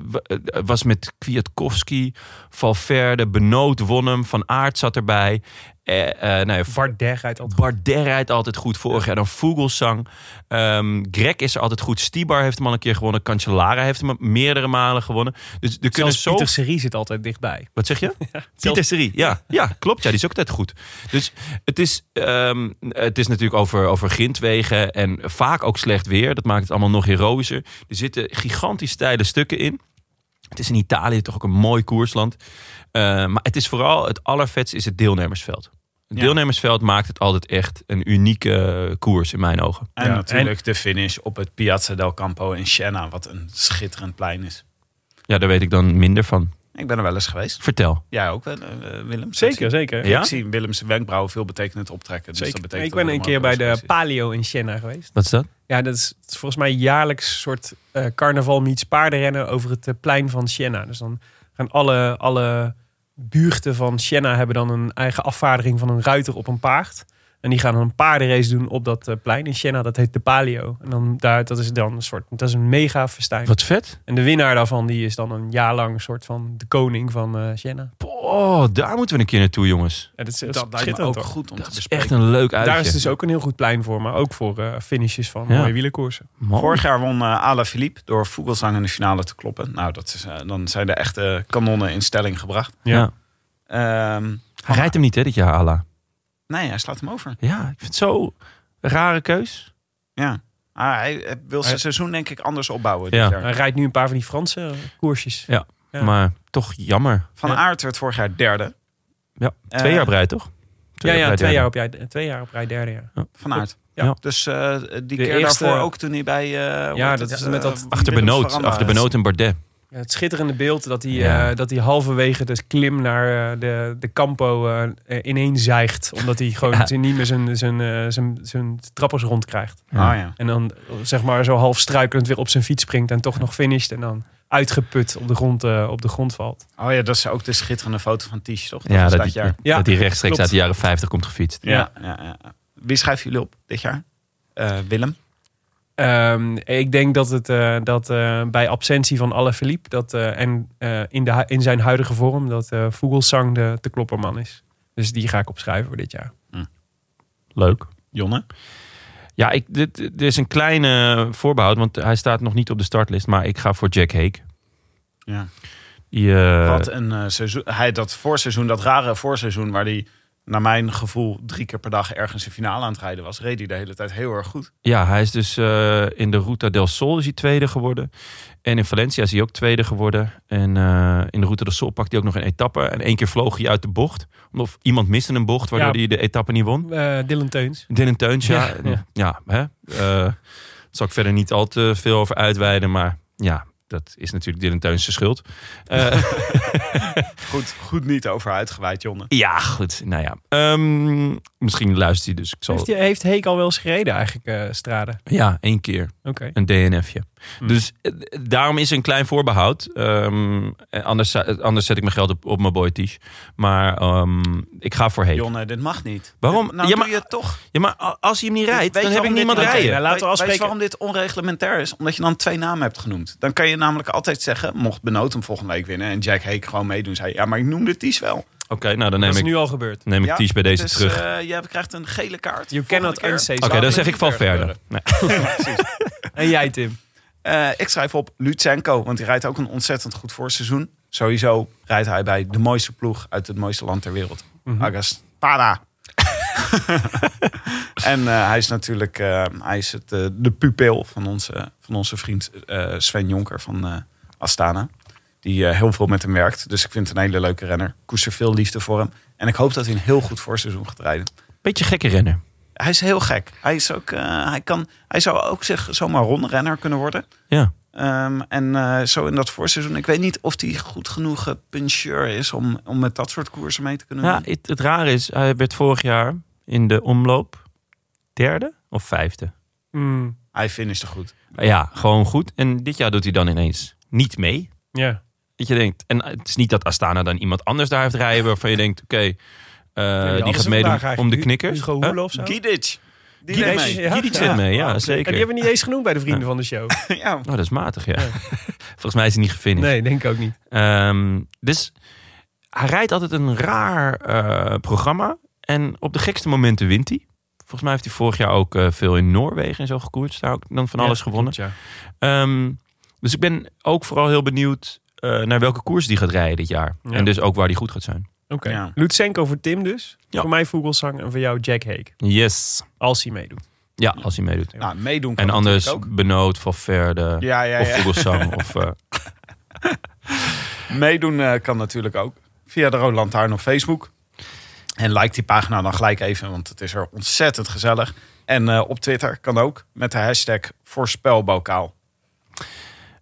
S2: was met Kwiatkowski, Valverde, Benoot won hem. Van Aert zat erbij. Eh, eh, nou ja,
S1: Vardeg uit Antwerpen.
S2: Bardet rijdt altijd goed. Vorig jaar dan Vogelsang. Ehm Greg is er altijd goed. Stibar heeft hem al een keer gewonnen. Cancellara heeft hem meerdere malen gewonnen. Dus er kunnen
S1: Zelfs
S2: zo...
S1: Pieter Serie zit altijd dichtbij.
S2: Wat zeg je? Pieter
S1: zelfs-
S2: Serie. Ja, ja, klopt. Ja, die is ook altijd goed. Dus het is, ehm, het is natuurlijk over, over grindwegen en vaak ook slecht weer. Dat maakt het allemaal nog heroïscher. Er zitten gigantisch steile stukken in. Het is in Italië toch ook een mooi koersland. Eh, maar het is vooral het allervetste is het deelnemersveld. Het
S3: Ja.
S2: deelnemersveld maakt het altijd echt een unieke eh, koers in mijn ogen.
S3: En natuurlijk de finish op het Piazza del Campo in Siena, wat een schitterend plein is.
S2: Ja, daar weet ik dan minder van.
S3: Ik ben er wel eens geweest.
S2: Vertel.
S3: Jij ook wel, eh, Willem?
S1: Zeker, zeker.
S2: Ja?
S3: Ik zie Willems wenkbrauwen veel betekenend optrekken. Dus
S1: Zeker.
S3: dat betekent
S1: ik ben
S3: dat
S1: een
S3: er
S1: keer bij
S3: allemaal
S1: de
S3: koers is.
S1: Palio in Siena geweest.
S2: Wat is dat?
S1: Ja, dat is, dat is volgens mij jaarlijks soort eh, carnaval meets paardenrennen over het eh, plein van Siena. Dus dan gaan alle, alle buurten van Siena hebben dan een eigen afvaardiging van een ruiter op een paard. En die gaan dan een paardenrace doen op dat eh, plein in Siena. Dat heet de Palio. En dan daar, dat is dan een soort, dat is een mega festijn.
S2: Wat vet.
S1: En de winnaar daarvan, die is dan een jaar lang soort van de koning van eh Siena.
S2: Oh, daar moeten we een keer naartoe, jongens.
S1: En dat is,
S3: Dat lijkt me
S1: schitterend,
S3: ook
S1: hoor.
S3: goed om
S2: Dat
S3: te
S2: is
S3: bespreken.
S2: echt een leuk uitje.
S1: Daar is dus ook een heel goed plein voor, maar ook voor eh, finishes van
S2: Ja.
S1: mooie wielenkoersen.
S2: Man.
S3: Vorig jaar won eh Ala Philippe door Vogelsang in de finale te kloppen. Nou, dat is, eh, dan zijn de echte kanonnen in stelling gebracht.
S2: Ja.
S3: Ehm,
S2: Hij rijdt hem niet, hè, dit jaar, Ala.
S3: nee, hij slaat hem over.
S2: Ja, ik vind het zo een rare keus.
S3: Ja. Ah, hij eh, wil zijn seizoen denk ik anders opbouwen.
S2: Ja.
S3: Dit jaar.
S1: Hij rijdt nu een paar van die Franse eh, koersjes. Ja.
S2: Maar toch jammer.
S3: Van
S1: Ja.
S3: Aert werd vorig jaar derde.
S2: Ja,
S3: Eh,
S2: twee jaar breid, toch?
S1: Ja, ja,
S2: breid,
S1: twee,
S2: ja.
S1: jaar op, jij- twee jaar op rij derde jaar.
S3: Van Aert.
S1: Ja.
S2: Ja.
S3: Dus eh, die keer
S1: eerste-
S3: daarvoor ook toen hij bij... eh, hoe
S1: Ja,
S3: heet
S1: dat
S3: het,
S1: is Oh, met
S3: eh,
S1: dat-
S2: Achter
S3: Willems
S2: Benoot,
S3: Veranda
S2: achter
S3: is.
S2: Benoot en Bardet.
S1: Ja, Het schitterende beeld dat hij,
S2: Ja.
S1: eh, dat hij halverwege de klim naar eh, de, de Campo eh, eh, ineen zeigt. Omdat hij gewoon
S2: Ja.
S1: zijn- niet meer zijn, zijn, eh, zijn, zijn trappers rond krijgt.
S3: Ah, ja.
S1: En dan eh, zeg maar zo half struikelend weer op zijn fiets springt en toch nog finisht. En dan uitgeput op de grond, eh, op de grond valt.
S3: Oh ja, dat is ook de schitterende foto van Tiesje, toch?
S2: Ja,
S3: is
S2: dat, die-
S3: jaar.
S1: Ja,
S2: dat die rechtstreeks
S1: klopt.
S2: uit de jaren 50 komt gefietst.
S3: Ja. Ja, ja, Wie schrijven jullie op dit jaar? Eh, Willem.
S1: Ehm, ik denk dat het eh, dat, eh, bij absentie van Alaphilippe dat, eh, en eh, in, de, hu- in zijn huidige vorm dat eh Vogelsang de, de klopperman is. Dus die ga ik opschrijven voor dit jaar.
S2: Leuk.
S3: Jonne.
S2: Ja, ik, dit, dit is een kleine voorbehoud, want hij staat nog niet op de startlist. Maar ik ga voor Jack Hake.
S3: Ja.
S2: Die, eh,
S3: Wat een eh, seizoen. Hij dat voorseizoen, dat rare voorseizoen, waar hij naar mijn gevoel drie keer per dag ergens een finale aan het rijden was, reed hij de hele tijd heel erg goed.
S2: Ja, hij is dus eh, in de Ruta del Sol is hij tweede geworden. En in Valencia is hij ook tweede geworden. En eh, in de Ruta del Sol pakt hij ook nog een etappe. En één keer vloog hij uit de bocht. Of iemand miste een bocht, waardoor
S1: Ja.
S2: hij de etappe niet won.
S1: Eh, Dylan Teuns.
S2: Dylan Teuns, ja.
S1: Ja,
S2: Ja, hè? Eh, daar zal ik verder niet al te veel over uitweiden. Maar ja, dat is natuurlijk Dylan Teuns zijn schuld. Eh,
S3: Goed, goed niet over uitgeweid, Jonne.
S2: ja, goed. Nou ja. Ehm, misschien luistert hij dus. Ik zal,
S1: Heeft, hij- heeft Heek al wel eens gereden eigenlijk, eh Strade?
S2: Ja, één keer.
S1: Oké.
S2: Een DNFje. Dus eh, daarom is een klein voorbehoud. Ehm, eh, anders, eh, anders zet ik mijn geld op, op mijn boy Tisch. Maar ehm, ik ga voor Heek.
S3: Jonne, dit mag niet.
S2: Waarom?
S3: Dit- Nou,
S2: Ja,
S3: doe
S2: maar-
S3: je het toch.
S2: Ja, maar a- als hij hem niet rijdt,
S3: Weet
S2: dan heb
S3: je
S2: ik
S3: waarom dit-
S2: niemand
S3: Oké,
S2: rijden.
S1: nou, laten we
S3: Weet- Weet
S1: afspreken.
S3: je waarom dit onreglementair is? Omdat je dan twee namen hebt genoemd. Dan kan je namelijk altijd zeggen, mocht Benoot hem volgende week winnen... en Jack Hake gewoon meedoen, zei ja, maar ik noemde Ties wel.
S2: Oké, nou dan
S1: Dat
S2: neem
S1: is
S2: ik,
S1: nu al gebeurd.
S2: neem ik
S3: Ja,
S2: Ties bij deze
S3: dus,
S2: terug. Oké,
S3: eh, je krijgt een gele kaart.
S1: You
S3: Volgende
S1: cannot
S3: keer.
S1: unsay
S3: Zou
S1: something.
S2: dan
S3: het
S2: zeg ik
S3: niet
S2: van
S3: gebeuren?
S2: verder. Nee.
S1: En jij, Tim?
S3: Eh, ik schrijf op Lutsenko, want die rijdt ook een ontzettend goed voorseizoen. Sowieso rijdt hij bij de mooiste ploeg uit het mooiste land ter wereld.
S1: Mhm.
S3: Agaspada. en eh, hij is natuurlijk eh, hij is het, eh, de pupil van onze, van onze vriend eh, Sven Jonker van eh, Astana. Die eh, heel veel met hem werkt. Dus ik vind het een hele leuke renner. Ik Koester veel liefde voor hem. En ik hoop dat hij een heel goed voorseizoen gaat rijden.
S2: Beetje gekke renner.
S3: Hij is heel gek. Hij, is ook, eh, hij, kan, hij zou ook zich zomaar rondrenner kunnen worden.
S2: Ja.
S3: Ehm, en eh, zo in dat voorseizoen. Ik weet niet of hij goed genoeg eh, puncheur is om, om met dat soort koersen mee te kunnen
S2: ja
S3: doen.
S2: het, het rare is, hij werd vorig jaar in de omloop derde of vijfde.
S1: Mm,
S3: Hij finishte goed.
S2: Ja, gewoon goed. En dit jaar doet hij dan ineens niet mee.
S1: ja.
S2: Dat je denkt, en het is niet dat Astana dan iemand anders daar heeft rijden waarvan je denkt, oké, eh, die
S1: hadden
S2: gaat
S1: ze
S2: meedoen
S1: vandaag eigenlijk.
S2: om de
S1: Hu-
S2: knikkers.
S1: Hugo Hoele of zo?
S3: Gidic. Die
S1: Gidic.
S3: deed
S2: Gidic,
S3: mee.
S1: Ja.
S2: Gidic zit mee, ja, zeker.
S1: En die hebben we niet eens genoemd bij de vrienden van de show.
S3: Ja.
S2: Oh, dat is matig, ja. Volgens mij is hij niet gefinished.
S1: Nee, denk ik ook niet.
S2: Ehm, dus hij rijdt altijd een raar eh, programma. En op de gekste momenten wint hij. Volgens mij heeft hij vorig jaar ook eh, veel in Noorwegen en zo gekoerd. Daar ook dan van alles
S1: Ja,
S2: gewonnen.
S1: klopt,
S2: Ehm, dus ik ben ook vooral heel benieuwd eh, naar welke koers die gaat rijden dit jaar.
S1: Ja.
S2: En dus ook waar die goed gaat zijn.
S1: ja. Oké.
S3: Ja.
S1: Lutsenko voor Tim dus.
S2: Ja.
S1: Voor mij Vogelsang en voor jou Jack Hake.
S2: Yes.
S1: Als hij meedoet.
S2: Ja, als hij meedoet.
S3: Nou, meedoen kan
S2: En anders
S3: natuurlijk
S2: Benoot, Valverde
S3: ook. Ja, ja,
S2: of
S3: ja.
S2: Vogelsang. of, eh,
S3: Meedoen eh, kan natuurlijk ook. Via de Roland Lantaarn op Facebook. En like die pagina dan gelijk even, want het is er ontzettend gezellig. En eh, op Twitter kan ook met de hashtag voorspelbokaal.